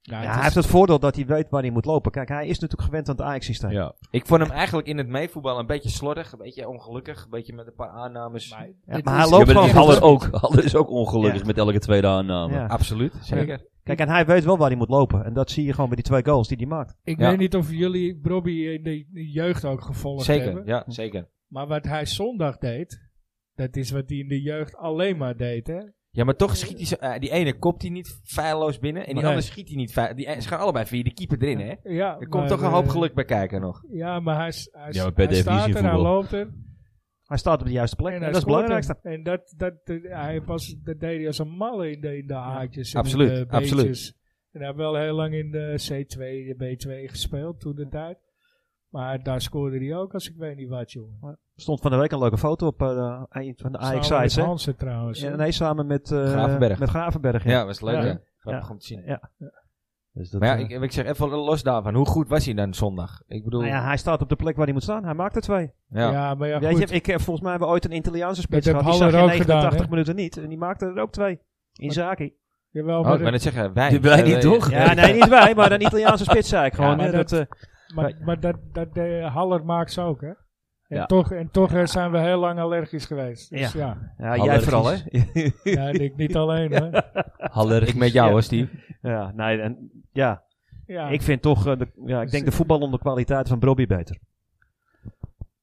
Ja,
Ja,
het
hij
is-
heeft het voordeel dat hij weet waar hij moet lopen. Kijk, hij is natuurlijk gewend aan het Ajax-systeem.
Ja.
Ik vond hem eigenlijk in het meevoetbal een beetje slordig, een beetje ongelukkig, een beetje met een paar aannames.
maar
Ja,
dit
maar hij
is-
loopt
Ja, maar
gewoon
Haller
goed.
ook, [laughs] Haller is ook ongelukkig
Ja.
met elke tweede aanname.
Ja.
Absoluut, zeker.
Kijk, en hij weet wel waar hij moet lopen. En dat zie je gewoon bij die twee goals die hij maakt.
Ik
Ja.
weet niet of jullie Bobby in de jeugd ook gevolgd
Zeker,
hebben.
ja, zeker.
Maar wat hij zondag deed, dat is wat hij in de jeugd alleen maar deed, hè?
Ja, maar toch schiet hij zo, eh, die ene kopt hij niet feilloos binnen en die
Nee.
andere schiet hij niet feil- die Ze gaan allebei via de keeper erin, hè?
Ja,
Er komt
maar,
toch een hoop
eh,
geluk bij kijken nog.
Ja, maar hij, s- hij, s-
Ja, maar per
hij staat
definitie
er, hij
voetbal.
loopt er.
Hij staat op de juiste plek.
En
En
hij
dat is het
scoort
belangrijkste.
hem. En dat, dat, eh, hij pas, dat deed hij als een malle in de, in de haartjes. en
absoluut,
in de beetjes.
absoluut.
En hij heeft wel heel lang in de C2, de B2 gespeeld toen de tijd. Maar daar scoorde hij ook als ik weet niet wat, jongen.
Stond van de week een leuke foto op eh, een van de ajax
Samen
sites
met
hè?
Hansen trouwens. hè.
Ja, nee, samen met eh,
Gravenberg.
Met Gravenberg.
Ja, was leuk,
Ja.
hè? Grappig
Ja.
om te zien.
Ja.
Dus dat,
Maar ja,
eh,
ik, ik zeg even los daarvan. Hoe goed was hij dan zondag? Ik bedoel,
Nou ja,
ja.
hij staat op de plek waar hij moet staan. Hij maakt er twee.
Ja, maar ja,
Weet
goed.
je, ik, eh, volgens mij hebben we ooit een Italiaanse
Dat
spits
heb
gehad. Die zag
Haller
je in
ook
89
gedaan, hè?
minuten niet. En die maakte er ook twee. Inzaki.
Jawel,
Oh,
maar,
ik ben
dat-
het zeggen, wij.
Die wij
Eh,
niet,
eh,
toch?
Ja, nee, niet wij, maar een Italiaanse spits zei ik gewoon.
Ja, maar
hè, dat,
dat-
eh,
maar, maar dat, dat de Haller maakt ze ook, hè? En
Ja.
toch, en toch eh, zijn we heel lang allergisch geweest. Dus ja,
ja, jij
Haller
vooral, hè?
is-
ja. en ik niet alleen, hoor.
Haller
Ik met jou,
Ja.
hoor, Steve.
ja, nee, en, ja.
Ja,
ik vind toch, eh, de, ja, ik denk de voetbal onder kwaliteit van Brobby beter.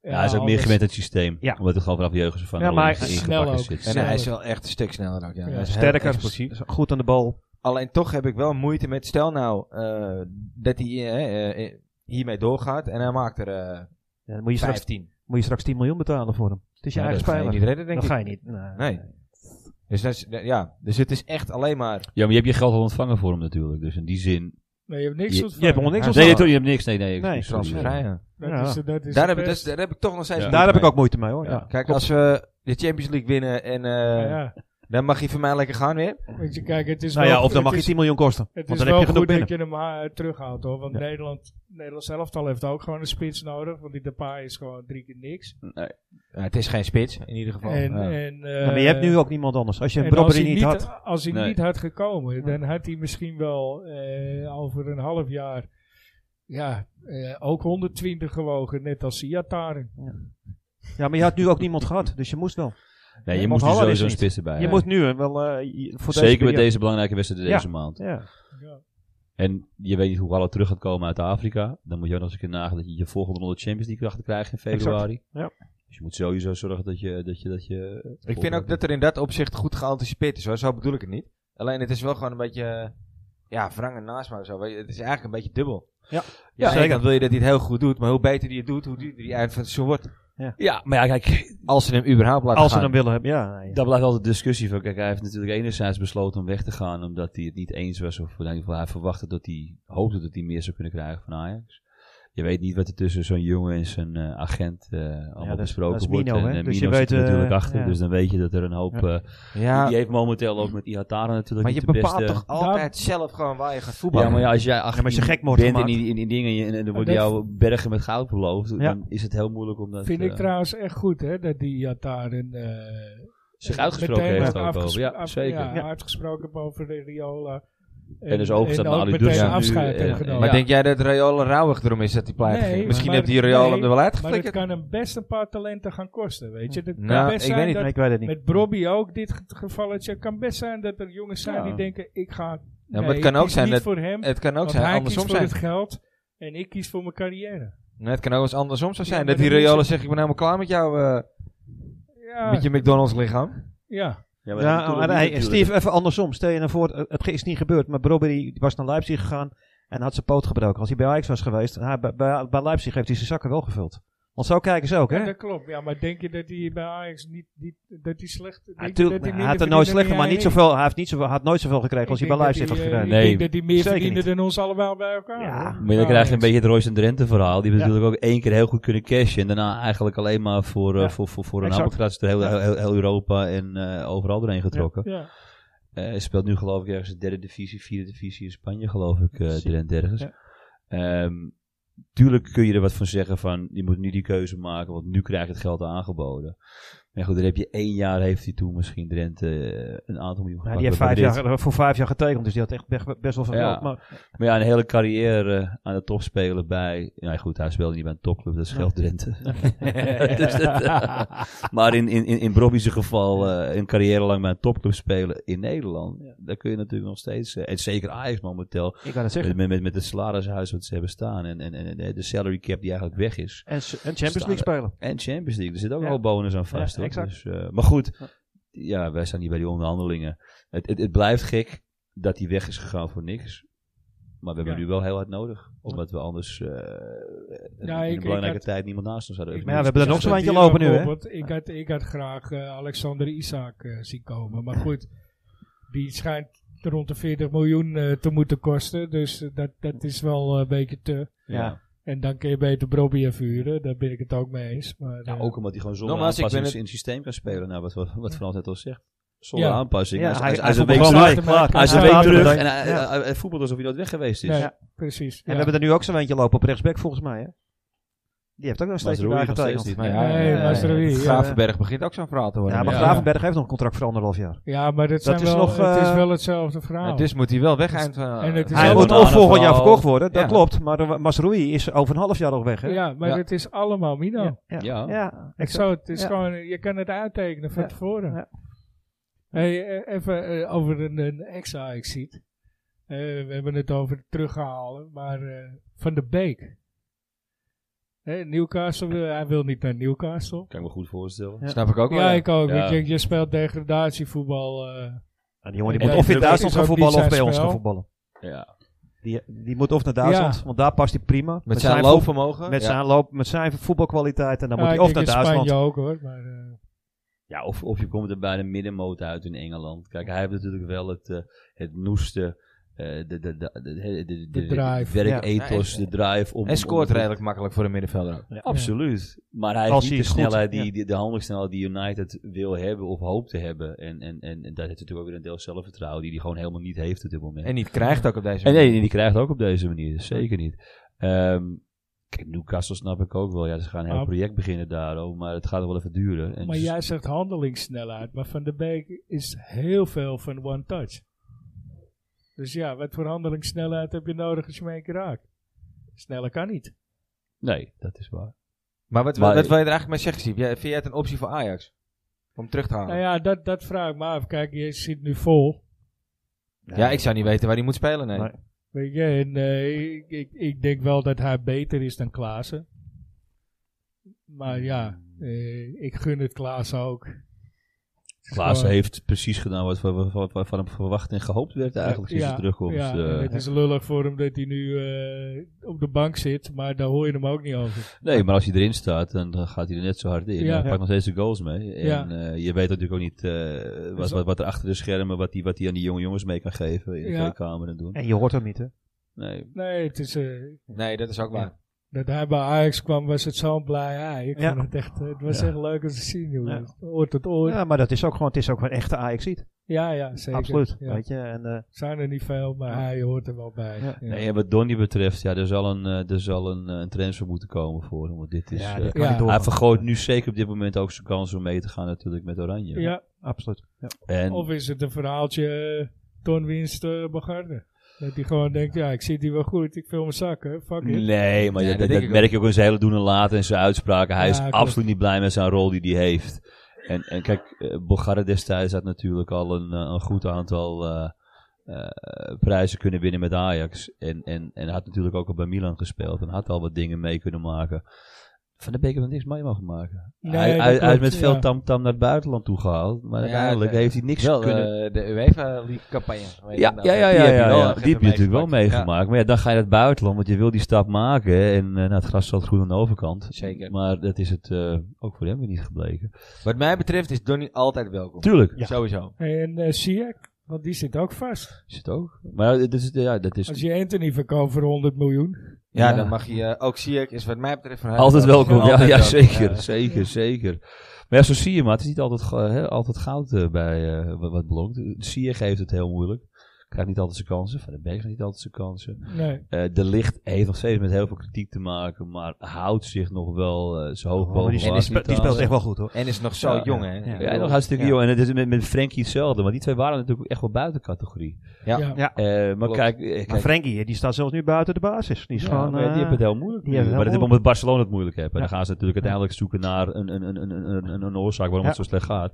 Ja, hij is ook meer
anders.
gewend aan het systeem.
Ja.
Omdat het gewoon vanaf jeugd van
Ja, maar hij
is snel ook.
zit.
En
Sneller.
hij is wel echt een stuk sneller ook, ja.
Ja.
Hij is heel
Sterker,
explosief.
is goed aan de bal.
Alleen toch heb ik wel moeite met, stel nou eh, dat hij eh, eh, hiermee doorgaat en hij maakt er eh
Ja, dan moet je, straks,
15.
moet je straks 10 miljoen betalen voor hem. Het is je
Ja,
eigen
dat ga je
speler.
niet redden, denk
Dat
ik.
ga je niet. Nee.
Nee. Dus, dat is, dat- ja, dus het is echt alleen maar...
Ja, maar je hebt je geld al ontvangen voor hem natuurlijk. Dus in die zin...
Nee, je hebt niks
Je-
ontvangen.
Je hebt nog niks
Ja,
op
Nee,
wel.
toch, je hebt niks. Nee, nee.
Nee,
excuus, sorry.
transfervrij, ja.
Dat
Ja.
is, dat is
Daar
het
heb, ik- dus,
best.
daar heb ik toch nog steeds...
Ja.
moeite
Daar heb ik
mee.
ook moeite mee hoor.
Ja.
Ja.
Kijk,
Klopt.
als we de Champions League winnen en eh,
Ja,
Dan mag hij van mij lekker gaan weer.
Weet je, kijk, het is
Nou
wel,
ja, of dan
het
mag je
is-
10 miljoen kosten.
Het
Want
is
dan heb
wel
je genoeg
goed
binnen.
dat je hem eh, terughaalt hoor. Want Nederland, Nederland elftal heeft ook gewoon een spits nodig. Want die Depay is gewoon drie keer niks.
Ja, het is geen spits, in ieder geval.
en,
Ja.
en,
Oh,
eh,
Ja, Nou, maar je hebt nu ook niemand anders. Als je
en als
Robbery
hij,
niet
niet,
had.
als hij
Nee.
niet had gekomen, dan had hij misschien wel eh, over een half jaar ja, eh, ook 120 gewogen, net als Siataren.
Ja, maar je had nu ook niemand gehad. Dus je moest wel.
Nee,
Nee,
je moest er
Haller is
sowieso een
niet.
spits erbij.
Je
hebben.
moet nu hè, wel. eh, je- voor
Zeker met
periode.
deze belangrijke wedstrijd deze maand.
Ja.
Ja.
En je weet niet hoe Haller terug gaat komen uit Afrika. Dan moet je ook nog eens een keer nagaan dat je je volgende ronde Champions League achter krijgt in februari.
ja.
Dus je moet sowieso zorgen dat je... Dat je, dat je
Ik vind ook dat er in dat opzicht goed geanticipeerd is hoor. Zo bedoel ik het niet. Alleen het is wel gewoon een beetje... eh, Ja, wrang en naast maar zo. weet je. Het is eigenlijk een beetje dubbel.
Ja.
ja aan de ene
zeker.
kant wil je dat hij het heel goed doet. Maar hoe beter hij het doet, hoe duurder hij eind van het seizoen wordt.
Ja, maar ja, kijk,
Als ze hem überhaupt laten
Als ze
gaan.
hem willen hebben. Ja, nee.
Dat blijft altijd discussie van. Kijk, hij heeft natuurlijk enerzijds besloten om weg te gaan omdat hij het niet eens was. Of in ieder geval hij verwachtte dat hij hoopte dat hij meer zou kunnen krijgen van Ajax. Je weet niet wat er tussen zo'n jongen en zijn eh, agent eh allemaal
dat is-
besproken
dat is
wordt.
Mino,
en
hè?
eh,
Dus je
Mino zit
weet,
er
eh,
natuurlijk achter.
ja.
Dus dan weet je dat er een hoop... eh,
Ja,
die heeft momenteel ook met Iatara natuurlijk
maar
niet
je
de
bepaalt
beste...
toch altijd zelf gewoon waar je gaat voetballen.
Ja, maar ja, als jij achter
als je gek wordt
bent in
gemaakt.
die, in die dingen en- en er worden
dat-
jouw bergen met goud beloofd,
Ja.
dan is het heel moeilijk om dat...
Vind
eh,
ik trouwens echt goed hè, dat die Iataren... eh,
zich
Eh,
uitgesproken
meteen
heeft ook
afges-
over. Ja,
af-
zeker.
ja,
Ja.
uitgesproken hebben over de Riola.
En dus overgestapt naar Ali
meteen
Dursun nu,
afscheid
eh,
hebben
eh,
genomen.
Maar
Ja.
denk jij dat Rayola rauwig erom is dat hij pleit
Nee,
ging? Misschien
maar-
heeft die Rayola
nee,
hem er wel
Maar het
uitgeflikkerd.
kan hem best een paar talenten gaan kosten, weet je. Het kan
Nou,
best
ik
zijn
weet niet,
dat
Nee, ik weet het niet.
met Brobby ook dit ge- gevalletje. Het kan best zijn dat er jongens zijn
Ja.
die denken, ik ga...
maar
nee,
het kan
ik
ook
kies
zijn
niet
dat-
voor hem,
Het kan ook
want
zijn,
hij kiest
andersom
voor
zijn.
het geld en ik kies voor mijn carrière.
Nee, het kan ook eens andersom zo zijn.
maar
dat die
dan is
Rayola
het-
zegt, ik ben helemaal klaar met jou, eh,
Ja,
met je McDonald's lichaam.
ja.
Ja, maar dat
Ja,
doet
maar
ook
nee,
niet natuurlijk.
Steve, even andersom. Stel je nou voor, eh, het is niet gebeurd, maar Brobbery was naar Leipzig gegaan en had zijn poot gebroken. Als hij bij Ajax was geweest, hij, bij, bij, bij Leipzig heeft hij zijn zakken wel gevuld. Want zo kijken ze ook, hè?
Ja, dat klopt. Ja, maar denk je dat hij bij Ajax niet, niet dat hij slecht... denk je
Natuurlijk,
dat minder
hij had er
verdiende
nooit slecht,
dan
maar
jij
niet
en ik?
zoveel, hij heeft niet zoveel, had nooit zoveel gekregen als hij bij Leipzig had gekregen.
eh,
Nee. Ik
Nee.
denk dat die meer
Zeker
verdiende
niet.
dan ons allemaal bij elkaar.
Ja.
hoor.
Maar dan krijg je een beetje het Royce en Drenthe verhaal. Die hebben
Ja.
natuurlijk ook één keer heel goed kunnen cashen. En daarna eigenlijk alleen maar voor, eh,
Ja,
voor, voor, voor een
exact.
hamburgerkrats door heel, heel, heel- heel Europa en eh, overal erheen getrokken.
Ja.
Eh, hij speelt nu geloof ik ergens de derde divisie, vierde divisie in Spanje geloof ik, eh
Precies.
Drenthe ergens.
Ja.
Ehm, tuurlijk kun je er wat van zeggen van, je moet nu die keuze maken, want nu krijg je het geld aangeboden. Maar goed, daar heb je één jaar heeft hij toen misschien Drenthe eh, een aantal miljoen
Ja,
gepakt.
die heeft
waarvan
vijf
dit-
jaar, voor vijf jaar getekend, dus die had echt be- best wel veel
Ja.
geld. Maar
Maar ja, een hele carrière eh, aan de top spelen bij... Nou ja, goed, hij speelde niet bij een topclub, dat is
Nee.
Geld Drenthe.
[laughs]
[laughs] Dus dat, maar in, in, in, in Bobby's geval eh, een carrière lang bij een topclub spelen in Nederland. Daar kun je natuurlijk nog steeds... eh, en zeker Ajax momenteel,
ik kan het zeggen.
met, met, met, met het salarishuis wat ze hebben staan. En, en, en de salary cap die eigenlijk weg is.
En, s- en Champions League spelen.
En Champions League, er zit ook
Ja.
al bonus aan vast.
Ja,
hoor.
exact.
Dus, eh, maar goed, ja, wij staan hier bij die onderhandelingen. Het, het, het blijft gek dat hij weg is gegaan voor niks. Maar we hebben
Ja.
hem nu wel heel hard nodig. Omdat we anders eh, in
ik-
een
ik
belangrijke
had-
tijd niemand naast ons hadden.
Ik-
Maar ja, we hebben er nog
Ja,
zo'n
dat
eentje
duurt
lopen nu,
nog op,
hè?
want eh, Ik had, ik had graag eh, Alexander Isaac eh, zien komen. Maar goed, die schijnt rond de 40 miljoen eh, te moeten kosten. Dus eh, dat, dat is wel eh, een beetje te.
Ja.
En dan kun je beter Brobby vuren. Daar ben ik het ook mee eens. Maar,
Ja,
eh,
ook omdat hij gewoon zonder
Nogmaals, ik
aanpassing
ben het-
in het systeem kan spelen. Nou, wat, wat, wat Frans net al zegt. Zonder
Ja.
aanpassing.
Ja,
Hij is-
hij-
hij is-
hij
hij is een
voelt
week
gewoon
terug.
mee.
maken.
Hij is een
Hij
week
staat er
terug
meteen.
en hij, eh,
Ja.
hij- hij voetbalt alsof hij nooit weg geweest is.
Nee,
Ja.
precies.
En
ja.
we hebben er nu ook zo'n eentje lopen op rechtsback, volgens mij, hè? Die heeft ook nog steeds
Mazraoui
daar
nog steeds
getekend.
niet.
Nou ja,
Nee,
eh,
maar Serie, ja.
Gravenberg begint ook zo'n verhaal te worden.
Ja, maar
Ja.
Gravenberg heeft nog een contract voor anderhalf jaar.
ja, maar dat zijn
is
wel,
nog,
het is
eh,
wel hetzelfde verhaal.
Ja, dus moet hij wel weg eind van...
En het is
Hij
ook-
moet
Onana
of volgend jaar
vooral.
verkocht worden, dat
Ja.
klopt. Maar eh, Masroei is over een half jaar nog weg. Hè?
ja, maar
Ja.
het is allemaal Mino.
ja. ja.
Ja.
Ja,
Ik
exact.
zou het is
Ja.
gewoon, je kan het uittekenen van
Ja.
tevoren.
Ja.
Hey, eh, even eh, over een, een exa ik ziet. we hebben het over het terughalen, maar eh, Van de Beek. Hè, Newcastle, wil- hij wil niet naar Newcastle.
Kan ik me goed voorstellen.
Ja.
Snap ik ook wel.
Ja, ik ook.
Ja.
want Je, je speelt degradatievoetbal. eh.
En Nou, die jongen
En
die moet of in
Brugge
Duitsland
is
gaan
ook
voetballen
niet
of
zijn
bij ons
spel.
gaan voetballen.
Ja.
Die, die moet of naar Duitsland, want daar past hij prima.
Met zijn
voet-
loopvermogen.
Met
Ja.
zijn loop, met zijn voetbalkwaliteit. En dan
Ja,
moet
ik
hij of naar
denk in
Duitsland.
Spanje ook hoor. Maar, eh,
Ja, of, of je komt er bij de middenmoot uit in Engeland. Kijk, hij heeft natuurlijk wel het, eh, het noeste eh, eh, de, de, de, de, de, de,
De drive,
het
ja.
werkethos,
Ja, en-
de drive. Om,
Hij scoort
om-
redelijk makkelijk voor een middenvelder ook.
Ja, absoluut. Maar hij
Als
heeft niet
hij
de
het goed-
snelheid, die,
ja.
die, de handelingssnelheid die United wil hebben of hoopt te hebben. En, en, en, en dat heeft natuurlijk ook weer een deel zelfvertrouwen die hij gewoon helemaal niet heeft op dit moment.
En niet krijgt ook op deze
En
manier.
nee, die krijgt ook op deze manier. Zeker niet. Ehm, kijk, Newcastle snap ik ook wel. Ja, ze gaan een heel
Maar-
project beginnen daarom, maar het gaat wel even duren. En
Maar
dus-
jij zegt handelingssnelheid, maar Van de Beek is heel veel van one touch. Dus ja, wat voor handelingssnelheid heb je nodig als je mee raakt? Sneller kan niet.
Nee, dat is waar.
Maar wat,
Maar-
wat wil je er eigenlijk mee zeggen, Siep? Jij- Vind jij het een optie voor Ajax? Om terug te halen?
Nou ja, dat, dat vraag ik me af. Kijk, je zit nu vol.
Ja, ik zou niet weten waar hij moet spelen, nee.
Maar-
Weet je, en eh, ik, ik, ik denk wel dat hij beter is dan Klaassen. Maar ja, eh, ik gun het Klaassen ook.
Klaas
Gewoon-
heeft precies gedaan wat van, van, van, van hem verwacht en gehoopt werd eigenlijk sinds zijn terugkomst.
ja,
eh.
en het is lullig voor hem dat hij nu eh, op de bank zit, maar daar hoor je hem ook niet over.
nee, maar als hij erin staat, dan dan gaat hij er net zo hard in.
Ja.
Hij pakt nog steeds de goals mee. En
Ja.
eh, je weet natuurlijk ook niet eh, wat,
Dus-
wat, wat er achter de schermen, wat hij wat die aan die jonge jongens mee kan geven in de
Ja.
kleedkamer en doen.
En je hoort hem niet, hè?
Nee,
Nee, het is, eh,
Nee, dat is ook waar.
dat hij bij Ajax kwam was het zo'n blij ei. Ik
Ja.
vond het echt, eh, het was
Ja.
echt leuk om te zien, joh.
Ja.
Oor tot oor. Ja,
Ja, maar dat is ook gewoon, het is ook een echte ajax
ja, zeker.
Absoluut,
Ja.
weet je. En, eh,
Zijn er niet veel, maar hij hoort er wel bij.
Ja.
Ja.
Nee, en wat Donny betreft, ja, er zal een, eh, er zal een, eh, een transfer moeten komen voor hem. Want dit is,
ja,
eh,
dit kan
ja.
niet doorgaan.
hij vergroot nu zeker op dit moment ook zijn kans om mee te gaan natuurlijk met Oranje.
Ja,
Absoluut. Ja.
En,
Of is het een verhaaltje eh, toonwinst eh, Bagarde? Dat hij gewoon denkt, ja, ik zit hier wel goed, ik vul mijn zakken, fuck it.
nee, maar
Nee, dat
ja, dat,
denk
dat
ik
merk je ook in zijn hele doen en laten en zijn uitspraken. Hij
Ja,
is
klopt.
absoluut niet blij met zijn rol die hij heeft. En, en kijk, eh, Bogarde destijds had natuurlijk al een, eh, een goed aantal eh, eh, prijzen kunnen winnen met Ajax. En, en, en had natuurlijk ook al bij Milan gespeeld en had al wat dingen mee kunnen maken. Van de Beek heeft er niks mee mogen maken.
Nee,
hij,
dat
hij- hij is
klopt,
met veel
ja.
tamtam naar het buitenland toe gehaald. Maar
Ja,
uiteindelijk
de-
heeft hij niks
Wel,
kunnen...
eh, de UEFA League campagne. Weet je
ja,
nou,
ja, ja,
die
ja,
heb je
ja,
wel,
ja.
eh,
Die heb je natuurlijk wel
meegemaakt.
meegemaakt. Maar ja, dan ga je naar het buitenland, want je wil die stap maken. hè. En eh, nou, het gras zat groen aan de overkant.
Zeker.
Maar dat is het eh, ook voor hem weer niet gebleken.
Ja. Wat mij betreft is Donny altijd welkom.
Tuurlijk.
Ja.
Sowieso.
En eh Ziyech, want die zit ook vast.
Is het ook. Maar ja, dat is... Ja, dat
Als
is
je Anthony verkoopt voor 100 miljoen.
Ja,
Ja.
dan mag je eh, ook Sierk is wat mij betreft van huis
altijd welkom. Ja,
Altijd
ja
welkom,
zeker.
ja.
Zeker, zeker. Maar ja, zo zie je maar. Het is niet altijd, go- hè, altijd goud eh, bij eh, wat, wat belongt. Sier geeft het heel moeilijk. Krijgt niet altijd zijn kansen. Van de Beek heeft niet altijd zijn kansen.
Nee.
Eh, de licht heeft nog steeds met heel veel kritiek te maken, maar houdt zich nog wel eh zo hoog
Oh, maar
boven
die,
En
water
spe- die spe- die
aan.
speelt echt wel goed, hoor.
En is nog zo
Ja,
jong, hè?
ja.
Ja, nog hartstikke
Ja.
jong. En het is met, met Frenkie hetzelfde, maar die twee waren natuurlijk echt wel buiten categorie.
Ja.
Ja.
Ja.
Eh, maar
Klopt.
kijk, eh,
Maar
kijk
Frenkie, hè, die staat zelfs nu buiten de basis. Die is
ja,
gewoon...
maar die
eh,
hebben het heel moeilijk.
die
nu.
hebben het
maar dat
heel
is omdat Barcelona het moeilijk heeft. En
Ja.
dan gaan ze natuurlijk uiteindelijk zoeken naar een, een, een, een, een, een, een oorzaak waarom
Ja.
het zo slecht gaat.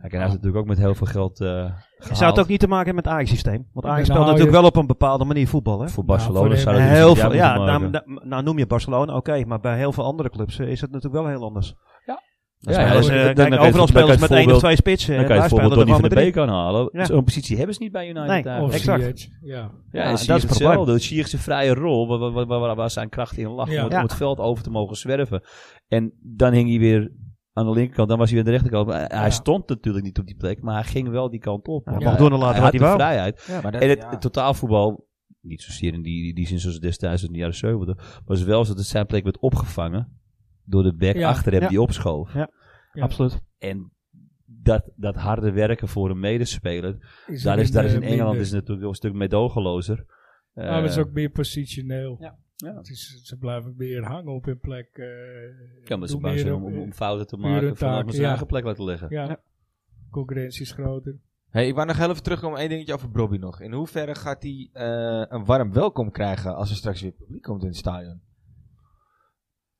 Kijk, en hij heeft natuurlijk ook met heel veel geld eh gehaald. nou,
Zou het ook niet te maken hebben met het Ajax-systeem? Want
dan
Ajax speelt
hou je-
natuurlijk wel op een bepaalde manier voetbal, hè?
voor
Nou,
Barcelona
voor de-
zou dat iets
Heel
met
veel,
jou
ja,
moeten maken.
nou, nou- nou noem je Barcelona, oké, maar bij heel veel andere clubs eh, is het natuurlijk wel heel anders.
Ja,
Spelers,
ja, dus
eh,
dan- dan
kijk,
kan je het-
overal
dan kan je
spelen ze
het
met één of
voorbeeld-
twee spitsen.
Dan
en
kan je
daar
het
spelen
voorbeeld
er
Donny
gewoon
van
met
de
drie.
Beek aanhalen.
Ja.
Zo'n positie hebben ze niet bij United
Nee,
eigenlijk.
Of
Exact.
Ziyech, ja.
Ja,
Ja,
en
en
zie
dat
je het
is het probleem.
hetzelfde. Het Sier is zijn vrije rol, waar, waar, waar, waar- waar zijn kracht in lag,
Ja.
om, het,
Ja.
om het veld over te mogen zwerven. En dan hing hij weer aan de linkerkant, dan was hij weer aan de rechterkant. Hij hij
Ja.
stond natuurlijk niet op die plek, maar hij ging wel die kant op.
Ja,
Want
hij mocht doen en laten wat
had
hij
de
wou.
vrijheid.
Maar dat-
En het,
ja.
het totaalvoetbal, niet zozeer in die, die, die zin zoals het destijds in de jaren 70, was wel zo dat zijn plek werd opgevangen door de back
Ja.
achter hem
Ja.
die opschoof.
Ja.
Absoluut.
En dat, dat harde werken voor een medespeler,
Is
daar
er
is, daar is in
minder-
Engeland is
minder.
het natuurlijk wel een stuk meedogenlozer. Eh,
Maar het is ook meer positioneel.
Ja.
Ja.
Het is, ze blijven meer hangen op hun plek. eh,
Ja, maar ze
doen
bang
meer
zijn
op-
om, om, om fouten te
pure
maken vanaf
taak,
een zijn
ja.
eigen plek laten leggen.
ja.
Ja.
concurrentie is groter.
Hey, ik wou nog heel even terugkomen op één dingetje over Bobby nog. In hoeverre gaat hij eh, een warm welkom krijgen als er straks weer publiek komt in het stadion?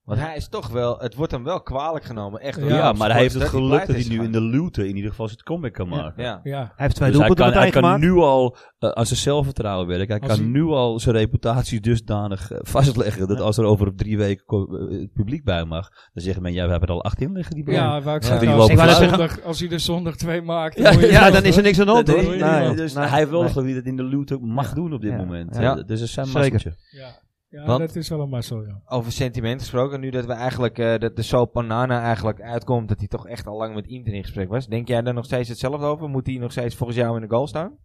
Want hij is toch wel, het wordt hem wel kwalijk genomen. Echt,
Ja,
Ja,
door de
maar hij heeft het
supporters
geluk dat
pleit
hij
is
nu in
gegaan.
de luwte in ieder geval zijn comeback kan maken.
Ja,
Ja.
Hij heeft twee
Dus hij
doelpunten
kan, hij
meteen
kan
gemaakt.
nu al eh, aan zijn zelfvertrouwen werken. Hij
Als
kan
hij-
nu al zijn reputatie dusdanig eh, vastleggen dat als er over drie weken ko- eh, het publiek bij mag, dan zegt men, ja, we hebben er al acht in liggen die
Ja,
bal.
wou ik
Ja.
zeggen,
Die
als,
lopen
hij de
uit.
zondag, als hij er zondag twee maakt,
Ja,
dan moet je
Ja,
zelf,
dan is er
hoor.
niks aan de hand,
Dat
hoor.
is-
Nee,
dus
nee,
hij heeft wel
nee.
het geluk dat hij in de luwte mag doen op dit
Ja.
moment.
Ja.
Ja. Dus het is zijn
Zeker.
masseltje.
Ja, ja
Want-
dat is wel een mazzel, ja.
Over sentiment gesproken, nu dat we eigenlijk, eh, dat de soap Banana eigenlijk uitkomt, dat hij toch echt al lang met Inter in gesprek was. Denk jij daar nog steeds hetzelfde over? Moet hij nog steeds volgens jou in de goal staan?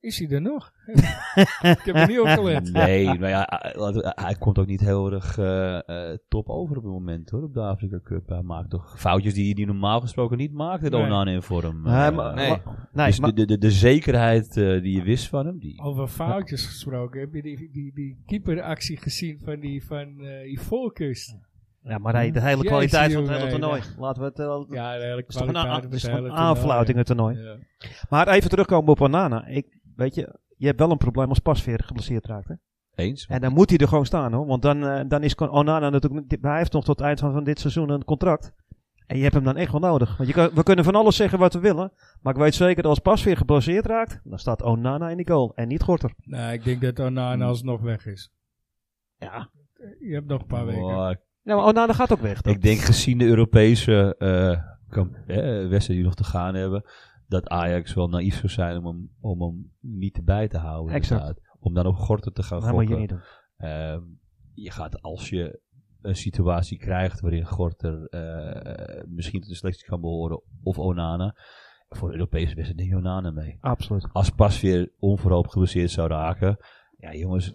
Is hij er nog? ik heb er niet op [laughs] gelet.
Nee, maar ja, eh, laten we- hij komt ook niet heel erg eh, eh, top over op het moment hoor, op de Afrika Cup. Hij maakt toch foutjes die hij normaal gesproken niet maakte,
Nee.
Onan in vorm.
Nee,
Eh,
maar-
Nee.
Nee,
dus
maar-
de, de, de zekerheid eh, die je wist van hem, die...
Over foutjes gesproken. Heb je die, die, die keeperactie gezien van die van eh Ivoorkust?
ja, maar hij- de hele
Jezus,
kwaliteit van het hele
jongen,
toernooi. Laten we het... eh,
Ja, eigenlijk
is toch een
kwaliteit
a-
van
is
het
toch
hele
een
toernooi.
aanfluiting het toernooi.
Ja.
Maar even terugkomen op Onana. Ik, weet je, je hebt wel een probleem als Pasveer geblesseerd raakt. Hè?
Eens.
En dan moet hij er gewoon staan hoor. Want dan, eh, dan is kon- Onana natuurlijk... niet- Hij heeft nog tot het eind van, van dit seizoen een contract. En je hebt hem dan echt wel nodig. Want je kan, we kunnen van alles zeggen wat we willen. Maar ik weet zeker dat als Pasveer geblesseerd raakt... Dan staat Onana in die goal. En niet Gorter.
Nou, ik denk dat Onana alsnog weg is.
Ja.
Je hebt nog een paar weken.
Maar
Ja, maar Onana gaat ook weg. dan.
ik denk gezien de Europese eh, kamp- eh, wedstrijden die nog te gaan hebben, dat Ajax wel naïef zou zijn om hem, om hem niet bij te houden.
Exact.
inderdaad. Om dan op Gorter te gaan
dat moet je
gokken.
niet doen.
Ehm, je gaat als je een situatie krijgt waarin Gorter eh, misschien tot de selectie kan behoren of Onana. Voor de Europese wedstrijd neem je Onana mee.
Absoluut.
Als pas weer onverhoopt geblesseerd zou raken. Ja, jongens.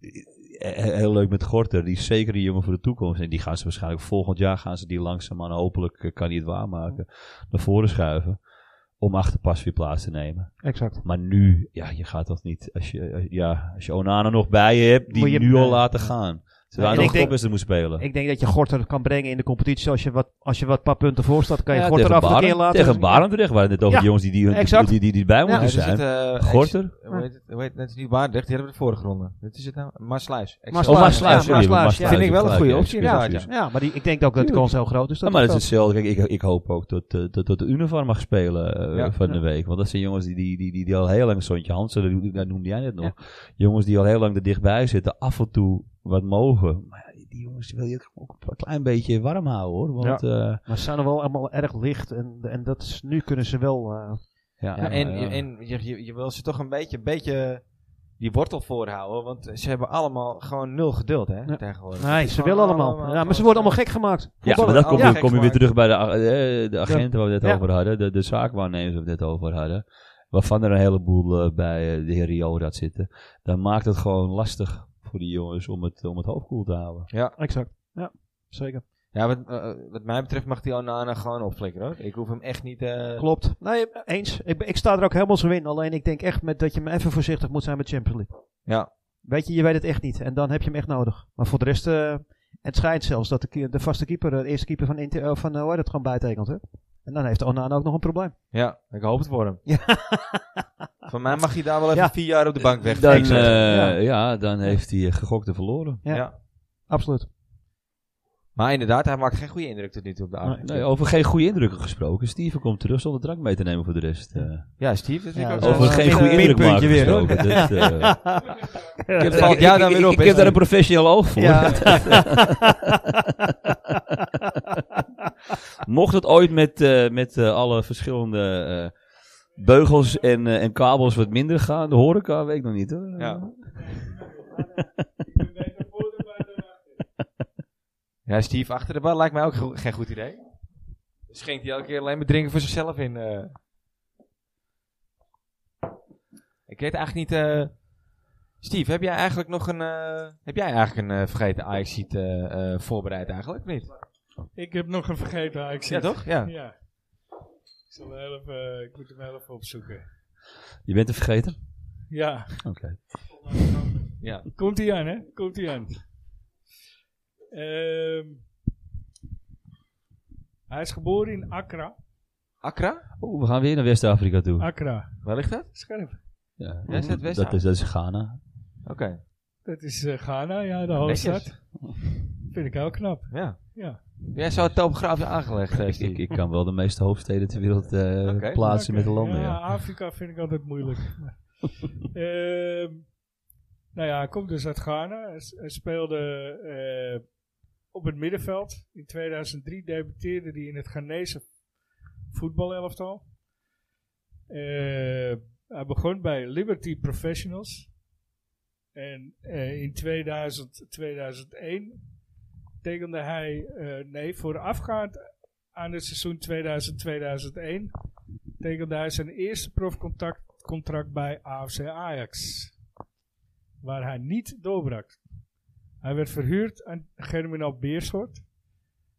eh, Heel leuk met Gorter. Die is zeker een jongen voor de toekomst. En die gaan ze waarschijnlijk volgend jaar gaan ze die langzaamaan hopelijk eh, kan hij het waarmaken. Naar voren schuiven. Om achter pas weer plaats te nemen.
Exact.
Maar nu, ja, je gaat dat niet. Als je, eh, ja, als je Onana nog bij je hebt, die
Moet je hem,
nu al
eh,
laten gaan. Terwijl
en
hij
ik
nog
denk-
topwedstrijd moet spelen.
Ik denk dat je Gorter kan brengen in de competitie. Als je wat, als je wat paar punten voor staat, kan je
Ja,
Gorter
tegen
af en toe een keer
Barend-
laten.
Tegen Barendrecht waren het net over
Ja,
die jongens die, die, die,
exact. dus
die, die, die bij moeten
er
zijn.
zit, eh, ex-
Gorter?
Hoe heet het? Hoe heet het? Het is niet Baardrecht, die hebben we de vorige ronde. Dit is het nou? Maassluis. Ex-
Maassluis.
Oh,
Sluis,
maar Sluis,
ja,
sorry,
Maas
maar
Sluis,
Sluis,
ja. Vind ik wel een goede
ja,
optie,
excuus,
ja,
excuus.
Ja, maar die, ik denk ook dat de kans heel groot is.
Ja,
Dat
maar
het
dat is hetzelfde. Kijk, ik, ik hoop ook dat, eh, dat, dat de Univar mag spelen eh,
Ja.
van de
Ja.
week. Want dat zijn jongens die, die, die, die, die al heel lang, Sontje Hansen, dat noemde- dat noemde jij net nog.
Ja.
Jongens die al heel lang er dichtbij zitten, af en toe wat mogen. Maar ja, die jongens wil je ook een klein beetje warm houden hoor. Want eh,
Maar ze zijn er wel allemaal erg licht. En, en dat is, nu kunnen ze wel... eh,
Ja,
Ja, en en je, je, je wil ze toch een beetje, beetje die wortel voorhouden. Want ze hebben allemaal gewoon nul geduld hè,
Ja.
tegenwoordig. Het
nee,
is
ze
gewoon
willen allemaal. Ja, maar ze worden allemaal gek gemaakt.
ja,
Voetballen
maar dan kom, je-
allemaal
kom je
gek
weer
maken.
terug bij de, ag- eh, de agenten waar we het net
Ja.
over hadden, de, de zaakwaarnemers waar we het net over hadden, waarvan er een heleboel eh, bij eh, de heer Riodat zitten, dan maakt het gewoon lastig voor die jongens om het, om het hoofd koel te houden.
Exact. Ja, zeker.
Ja, wat, eh, wat mij betreft mag die Onana gewoon opflikkeren hoor. Ik hoef hem echt niet... eh,
Klopt. Nee, eens. Ik, ben- ik sta er ook helemaal zo in. Alleen ik denk echt met, dat je me even voorzichtig moet zijn met Champions League.
Ja.
Weet je, je weet het echt niet. En dan heb je hem echt nodig. Maar voor de rest... eh, het schijnt zelfs dat de, ke- de vaste keeper, eh, de eerste keeper van, Inter, eh, van eh, hoe heet het, gewoon bijtekent. Hè? En dan heeft Onana ook nog een probleem.
Ja, ik hoop het voor hem. [laughs] Van mij mag hij daar wel even
Ja.
vier jaar op de bank weg.
Dan,
Exact.
eh,
Ja.
ja. dan heeft hij eh, gegokt en verloren.
Ja.
Ja.
Absoluut.
Maar inderdaad, hij maakt geen goede indruk tot nu toe op de avond.
Nee, oh. over geen goede indrukken gesproken. Steven komt terug zonder drank mee te nemen voor de rest. eh.
Ja, Steve, dat vind ik
Ja,
ook
dat is
zo.
over
wel
geen
een
goede
min-
indruk maken
minpuntje weer,
gesproken. Dat, eh,
Het valt jou dan weer op,
ik,
hè,
heb daar
Steve?
een professioneel oog voor.
Ja.
Mocht het ooit met, eh, met eh, alle verschillende eh, beugels en, eh, en kabels wat minder gaan, de horeca weet ik nog niet hoor.
Ja. ja, Steve achter de bal lijkt mij ook go- geen goed idee. Schenkt hij elke keer alleen maar drinken voor zichzelf in. eh. Ik weet eigenlijk niet... eh, Steve, heb jij eigenlijk nog een... eh, heb jij eigenlijk een eh, vergeten Ajax-sheet eh, eh, voorbereid eigenlijk, of niet?
Ik heb nog een vergeten. Ik zie
Ja, toch? Ja.
Ja. Ik, zal heel even, eh, ik moet hem heel even opzoeken.
Je bent het vergeten?
Ja,
Oké.
ja.
komt hij aan, hè? Komt hij aan. Ehm, hij is geboren in Accra.
Accra?
Oeh, Oh, we gaan weer naar West-Afrika
Ah,
toe.
Accra,
Waar ligt dat?
scherp.
Ja.
Ja, is dat West-Afrika?
dat, is, dat is Ghana.
Oké.
Dat is eh, Ghana, ja, de hoofdstad. Vind ik heel knap.
Ja.
Ja.
Jij zou het topografisch aangelegd hebben,
Ik, ik,
Steve.
ik kan wel de meeste hoofdsteden ter wereld eh,
Oké.
plaatsen met de
Oké,
landen. Ja.
Afrika vind ik altijd
[laughs]
moeilijk. Ehm, nou ja, hij komt dus uit Ghana. Hij, s- hij speelde eh, op het middenveld. In 2003 debuteerde hij in het Ghanese voetbalelftal. Eh, hij begon bij Liberty Professionals. En eh, in 2000, 2001 tekende hij, eh, nee, voorafgaand aan het seizoen 2000-2001 tekende hij zijn eerste profcontact contract bij AFC Ajax. Waar hij niet doorbrak. Hij werd verhuurd aan Germinal Beerschot.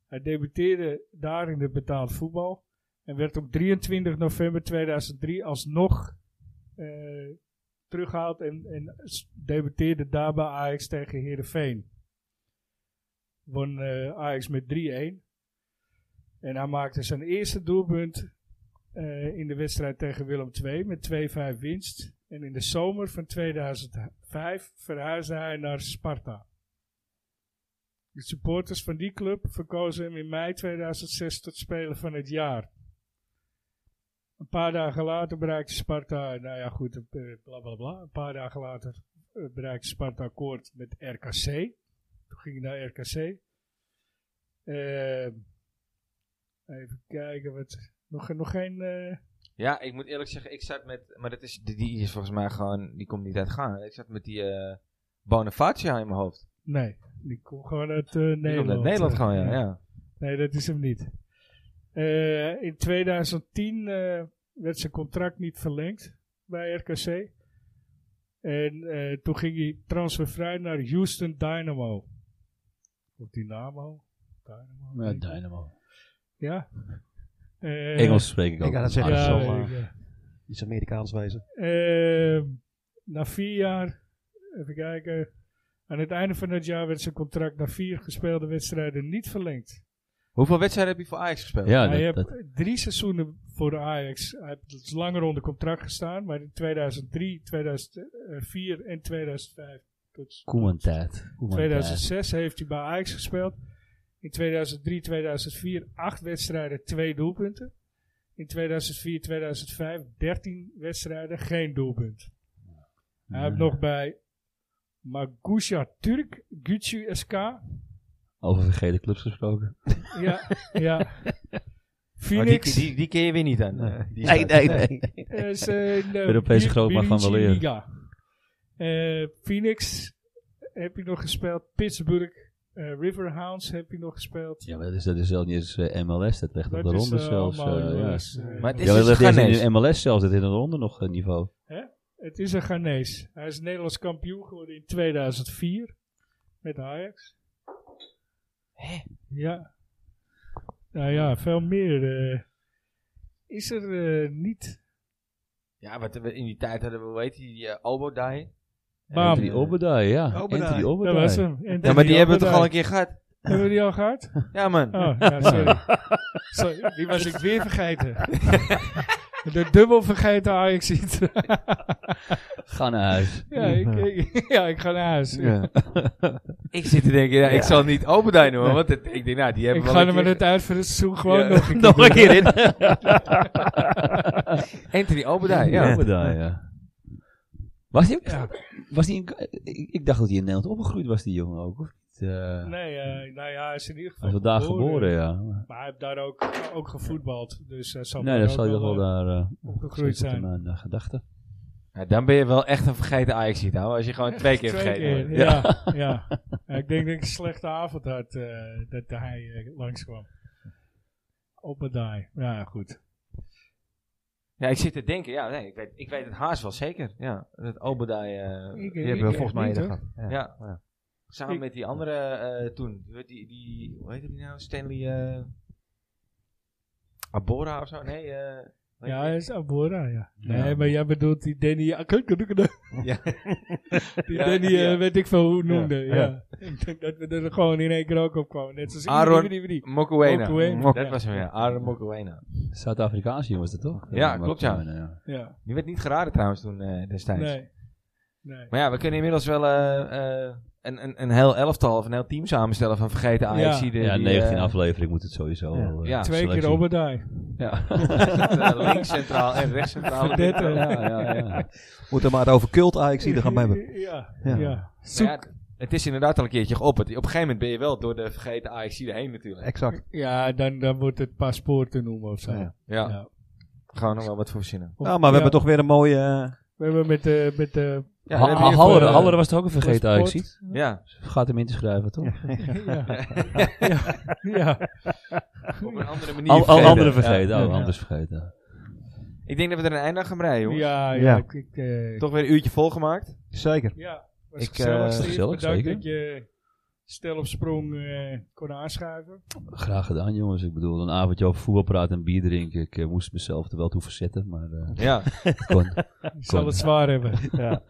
Hij debuteerde daar in het betaald voetbal. En werd op 23 november 2003 alsnog eh teruggehaald. En, en s- debuteerde daar bij Ajax tegen Heerenveen. Won eh, Ajax met 3-1. En hij maakte zijn eerste doelpunt eh, in de wedstrijd tegen Willem II met 2-5 winst. En in de zomer van 2005 verhuisde hij naar Sparta. De supporters van die club verkozen hem in mei 2006 tot speler van het jaar. Een paar dagen later bereikte Sparta, nou ja goed, eh, bla bla bla. Een paar dagen later eh, bereikte Sparta akkoord met RKC. Toen ging hij naar RKC. Ehm, even kijken, wat, nog, nog geen. eh,
[laughs] Ja, ik moet eerlijk zeggen, ik zat met. Maar dat is, die, die is volgens mij gewoon. Die komt niet uit gaan. Ik zat met die eh Bonifacio in mijn hoofd.
nee, die komt gewoon uit eh,
Die komt
Nederland.
uit Nederland gewoon, ja.
Eh,
ja.
Nee, dat is hem niet. Eh, in 2010 eh, werd zijn contract niet verlengd bij RKC. En eh, toen ging hij transfervrij naar Houston Dynamo. Of Dynamo? Dynamo?
Ja,
denk ik.
Dynamo.
Ja. Eh,
Engels spreek ik ook. Ah,
Ik ga dat zeggen,
Ja,
zo,
weet
maar-
ik, ja.
[laughs] Iets Amerikaans wezen.
Ehm, na vier jaar, even kijken. Aan het einde van het jaar werd zijn contract na vier gespeelde wedstrijden niet verlengd.
Hoeveel wedstrijden heb je voor Ajax gespeeld?
Ja,
hij
Ah, dat,
heeft
dat,
drie seizoenen voor Ajax. Hij heeft dus langer onder contract gestaan, maar in 2003, 2004 eh, en 2005 tot
Koeman tijd. Koeman
2006 heeft hij bij Ajax gespeeld. In 2003, 2004 acht wedstrijden, twee doelpunten. In 2004, 2005 13 wedstrijden, geen doelpunt. Hij heeft nog bij Magusha Turk, Gucci SK.
Over vergeten clubs gesproken.
Ja, ja.
Maar die,
Phoenix.
die, die, die ken je weer niet aan. eh, die
tijd.
staat-
[laughs]
Nee, nee, nee.
is, eh, de
Europese
Bi-
grootmacht van
Birinci
weleer.
Liga. Eh, Phoenix eh, heb je nog gespeeld. Pittsburgh. eh, Riverhounds heb je nog gespeeld.
Ja, maar dat is, dat is zelfs niet eens eh, MLS. Dat ligt op de ronde
eh,
zelfs. eh,
allemaal
ja.
jongens, eh,
Maar het is
ja, dat
dus
ligt eerst
Ghanese.
in de MLS zelfs. Dat is in de ronde nog eh, niveau.
Het is een Ghanese. Hij is Nederlands kampioen geworden in 2004 met Ajax. Hé? Ja. Nou ja, veel meer eh, is er eh, niet.
Ja, wat we in die tijd hadden we, hoe heet die, die eh, Obodai.
Bam.
Anthony Obadai, ja.
Obadai.
Anthony
Dat
Obadai.
was hem. En
Ja, maar die hebben we toch al een
Obadai.
keer gehad?
Hebben we die al gehad?
Ja, man.
Oh, ja, sorry. Sorry, Die was ik weer vergeten. [laughs] De dubbel vergeten Ajax ziet.
Ga naar huis.
[laughs] ja, ik, ik- ja, ik ga naar huis.
Ik zit te denken, ja, ik zal niet Obodai noemen, want het- ik denk, nou, die hebben
Ik
we
ga
wel
er
een
maar
keer
net uit voor het seizoen
[laughs]
gewoon nog een keer.
Nog een keer in.
ge- [laughs] Anthony Obodai, ja.
ja. Obadai, ja. Was die, ook-
Ja.
was die in- ik, ik dacht dat hij in Nederland opgegroeid was, die jongen ook. Of niet? Eh,
Nee, eh, nou ja, hij is in ieder
hij
geval
is wel daar geboren, ja.
Maar hij heeft daar ook, ook gevoetbald. Dus hij zal
Nee,
daar
dat
ook
zal hij toch wel
eh,
daar eh,
opgegroeid
zeker
zijn.
op Mijn eh, gedachten.
Ja, Dan ben je wel echt een vergeten ajax hoor, als je gewoon twee keer
[laughs] Twee
vergeten
keer,
wordt.
ja. ja. [laughs] Ja, ik denk dat ik een slechte avond had eh, dat hij eh, langskwam. Op een die. Ja, goed.
Ja, ik zit te denken, ja, nee, ik weet, ik weet het haast wel zeker. Ja, dat Obadai, eh,
Ik-
die
ik-
hebben we
ik-
volgens mij
niet,
eerder
hoor.
gehad. Ja. Samen
Ik-
met die andere eh, toen, die, die, die, hoe heet die nou, Stanley eh, Abora of zo? Nee, eh, hoe
Ja,
heet
hij
die?
is Abora, ja. Nee, maar jij bedoelt die Danny... Ja. [laughs] die
Ja,
Danny,
ja.
eh, weet ik veel hoe noemde. Ja,
ja.
Ik denk dat we er gewoon in één keer ook op kwamen. Net zoals
Aaron-
die, die.
Mokuena.
Mokuena.
Mok-
Ja.
Dat was hem, ja. Aaron Mokuena.
Zuid-Afrikaanse jongens, dat toch?
Ja, klopt, ja.
maar, eh,
Ja,
Die werd niet geraden trouwens toen eh, destijds.
nee. Nee.
Maar ja, we kunnen inmiddels wel eh, eh, een, een, een heel elftal of een heel team samenstellen van vergeten Ajax.
Ja.
Ja, 19 aflevering moet het sowieso
Ja.
wel. eh,
eh, Ja.
Twee keer
selectie.
Obadai.
Ja.
[laughs] links centraal en rechts centraal. eh,
Verdette.
ja, ja, ja.
Moet er maar over cult Ajax ieder
[laughs]
gaan hebben.
Ja, ja.
Ja.
Zoek.
Maar ja, het is inderdaad al een keertje geopperd. Op een gegeven moment ben je wel door de vergeten Ajax heen natuurlijk.
Exact.
Ja, dan, dan wordt het paspoort te noemen of zo.
Ja.
Ja,
Ja.
gewoon nog wel wat voor zinnen.
Of-
nou, maar we
ja,
hebben toch weer een mooie... eh,
We hebben met de... Met de
Ja,
Ha-
we hebben
ha-
hier
Halleren,
voor, eh,
Halleren was het ook een vergeten
paspoort.
Ajax. iets.
Ja,
Gaat hem in te schrijven, toch?
[laughs] ja. ja. ja.
op een andere manier.
Al, al
vergeten.
anderen vergeten.
Ja.
Oh, anders vergeten.
Ik Ik denk dat we er een eind aan gaan breien, jongens.
Ja, ja,
Ja.
ik... ik eh,
Toch weer een uurtje volgemaakt.
Zeker.
Ja, was
Ik,
gezellig,
eh,
Steve.
gezellig,
Bedankt
zeker.
dat je stel op sprong eh, kon aanschuiven.
Graag gedaan, jongens. Ik bedoel, een avondje over voetbal praten en bier drinken. Ik eh, moest mezelf er wel toe verzetten, maar eh
Ja,
ik
[laughs]
kon.
Je zal het zwaar hebben.
Ja.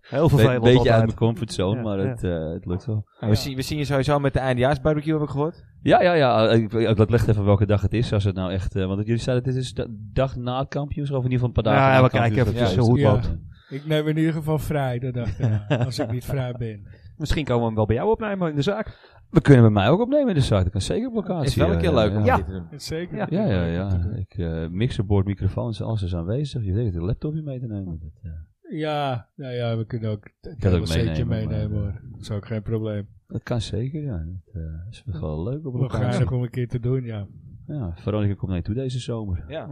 Heel
Be-
vervelend
beetje uit
altijd.
mijn comfortzone,
Ja,
maar
ja.
Het, eh, het lukt wel.
we, zien, we zien je sowieso met de eindejaarsbarbecue, heb ik gehoord.
Ja, ja, ja. Eh, Ik, ik, ik leg even welke dag het is. Als het nou echt, eh, want jullie zeiden, dit is de dag na het kampioenschap, of in ieder geval een paar
Ja,
dagen na
we
het
kijken
kampioenschap.
even
Ja,
hoe
het
dus-
Ik neem in ieder geval vrij de dag erna, als ik niet vrij ben.
Misschien komen we hem wel bij jou opnemen in de zaak.
We kunnen bij mij ook opnemen in de site. Dat kan zeker op locatie.
Is wel een keer
eh,
leuk om
ja.
dit te doen.
Dat Zeker.
Ja, ja, ja. Ik, eh mixerboard, microfoons, alles is aanwezig. Je weet het, een laptopje mee te nemen. Dat, eh,
Ja, nou ja, we kunnen ook het
kan ook
hele setje
meenemen,
meenemen
maar,
hoor. Dat is ook geen probleem.
dat kan zeker, ja. Dat eh, is wel leuk op
We gaan
locatie.
het om een keer te doen, ja.
Ja, Veronica komt naar je toe deze zomer.
Ja.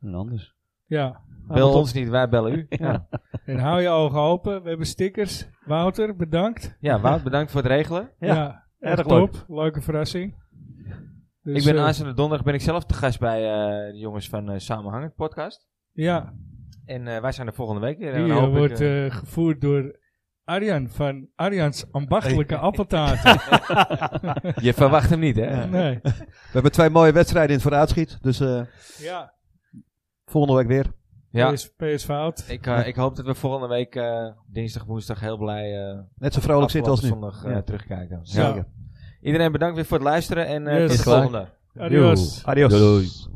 En anders.
Ja,
Bel ons niet, wij bellen u.
en hou je ogen open. We hebben stickers. Wouter, bedankt.
Ja, Wout, bedankt voor het regelen.
Ja,
echt
erg
top. Leuke verrassing. Dus,
ik ben
eh,
aanstaande donderdag ben ik zelf te gast bij eh, de jongens van eh, Samenhangend podcast.
eh, Ja,
En eh, wij zijn er volgende week weer. En
Die
dan
eh,
hoop ik,
wordt
eh,
eh, gevoerd door Arjan van
[laughs]
Arjans ambachtelijke appeltaart.
je verwacht hem niet, hè?
nee.
We hebben twee mooie wedstrijden in het vooruitschiet. Dus eh,
Ja,
volgende week weer.
Ja,
PS, PS fout.
ik, eh, ik hoop dat we volgende week eh, dinsdag, woensdag heel blij eh
Net zo vrolijk zitten als
afgelopen
nu.
zondag eh,
Ja.
terugkijken.
Ja.
Iedereen bedankt weer voor het luisteren en eh,
Yes.
tot de volgende.
Adios.
Adios.
Doei, doei.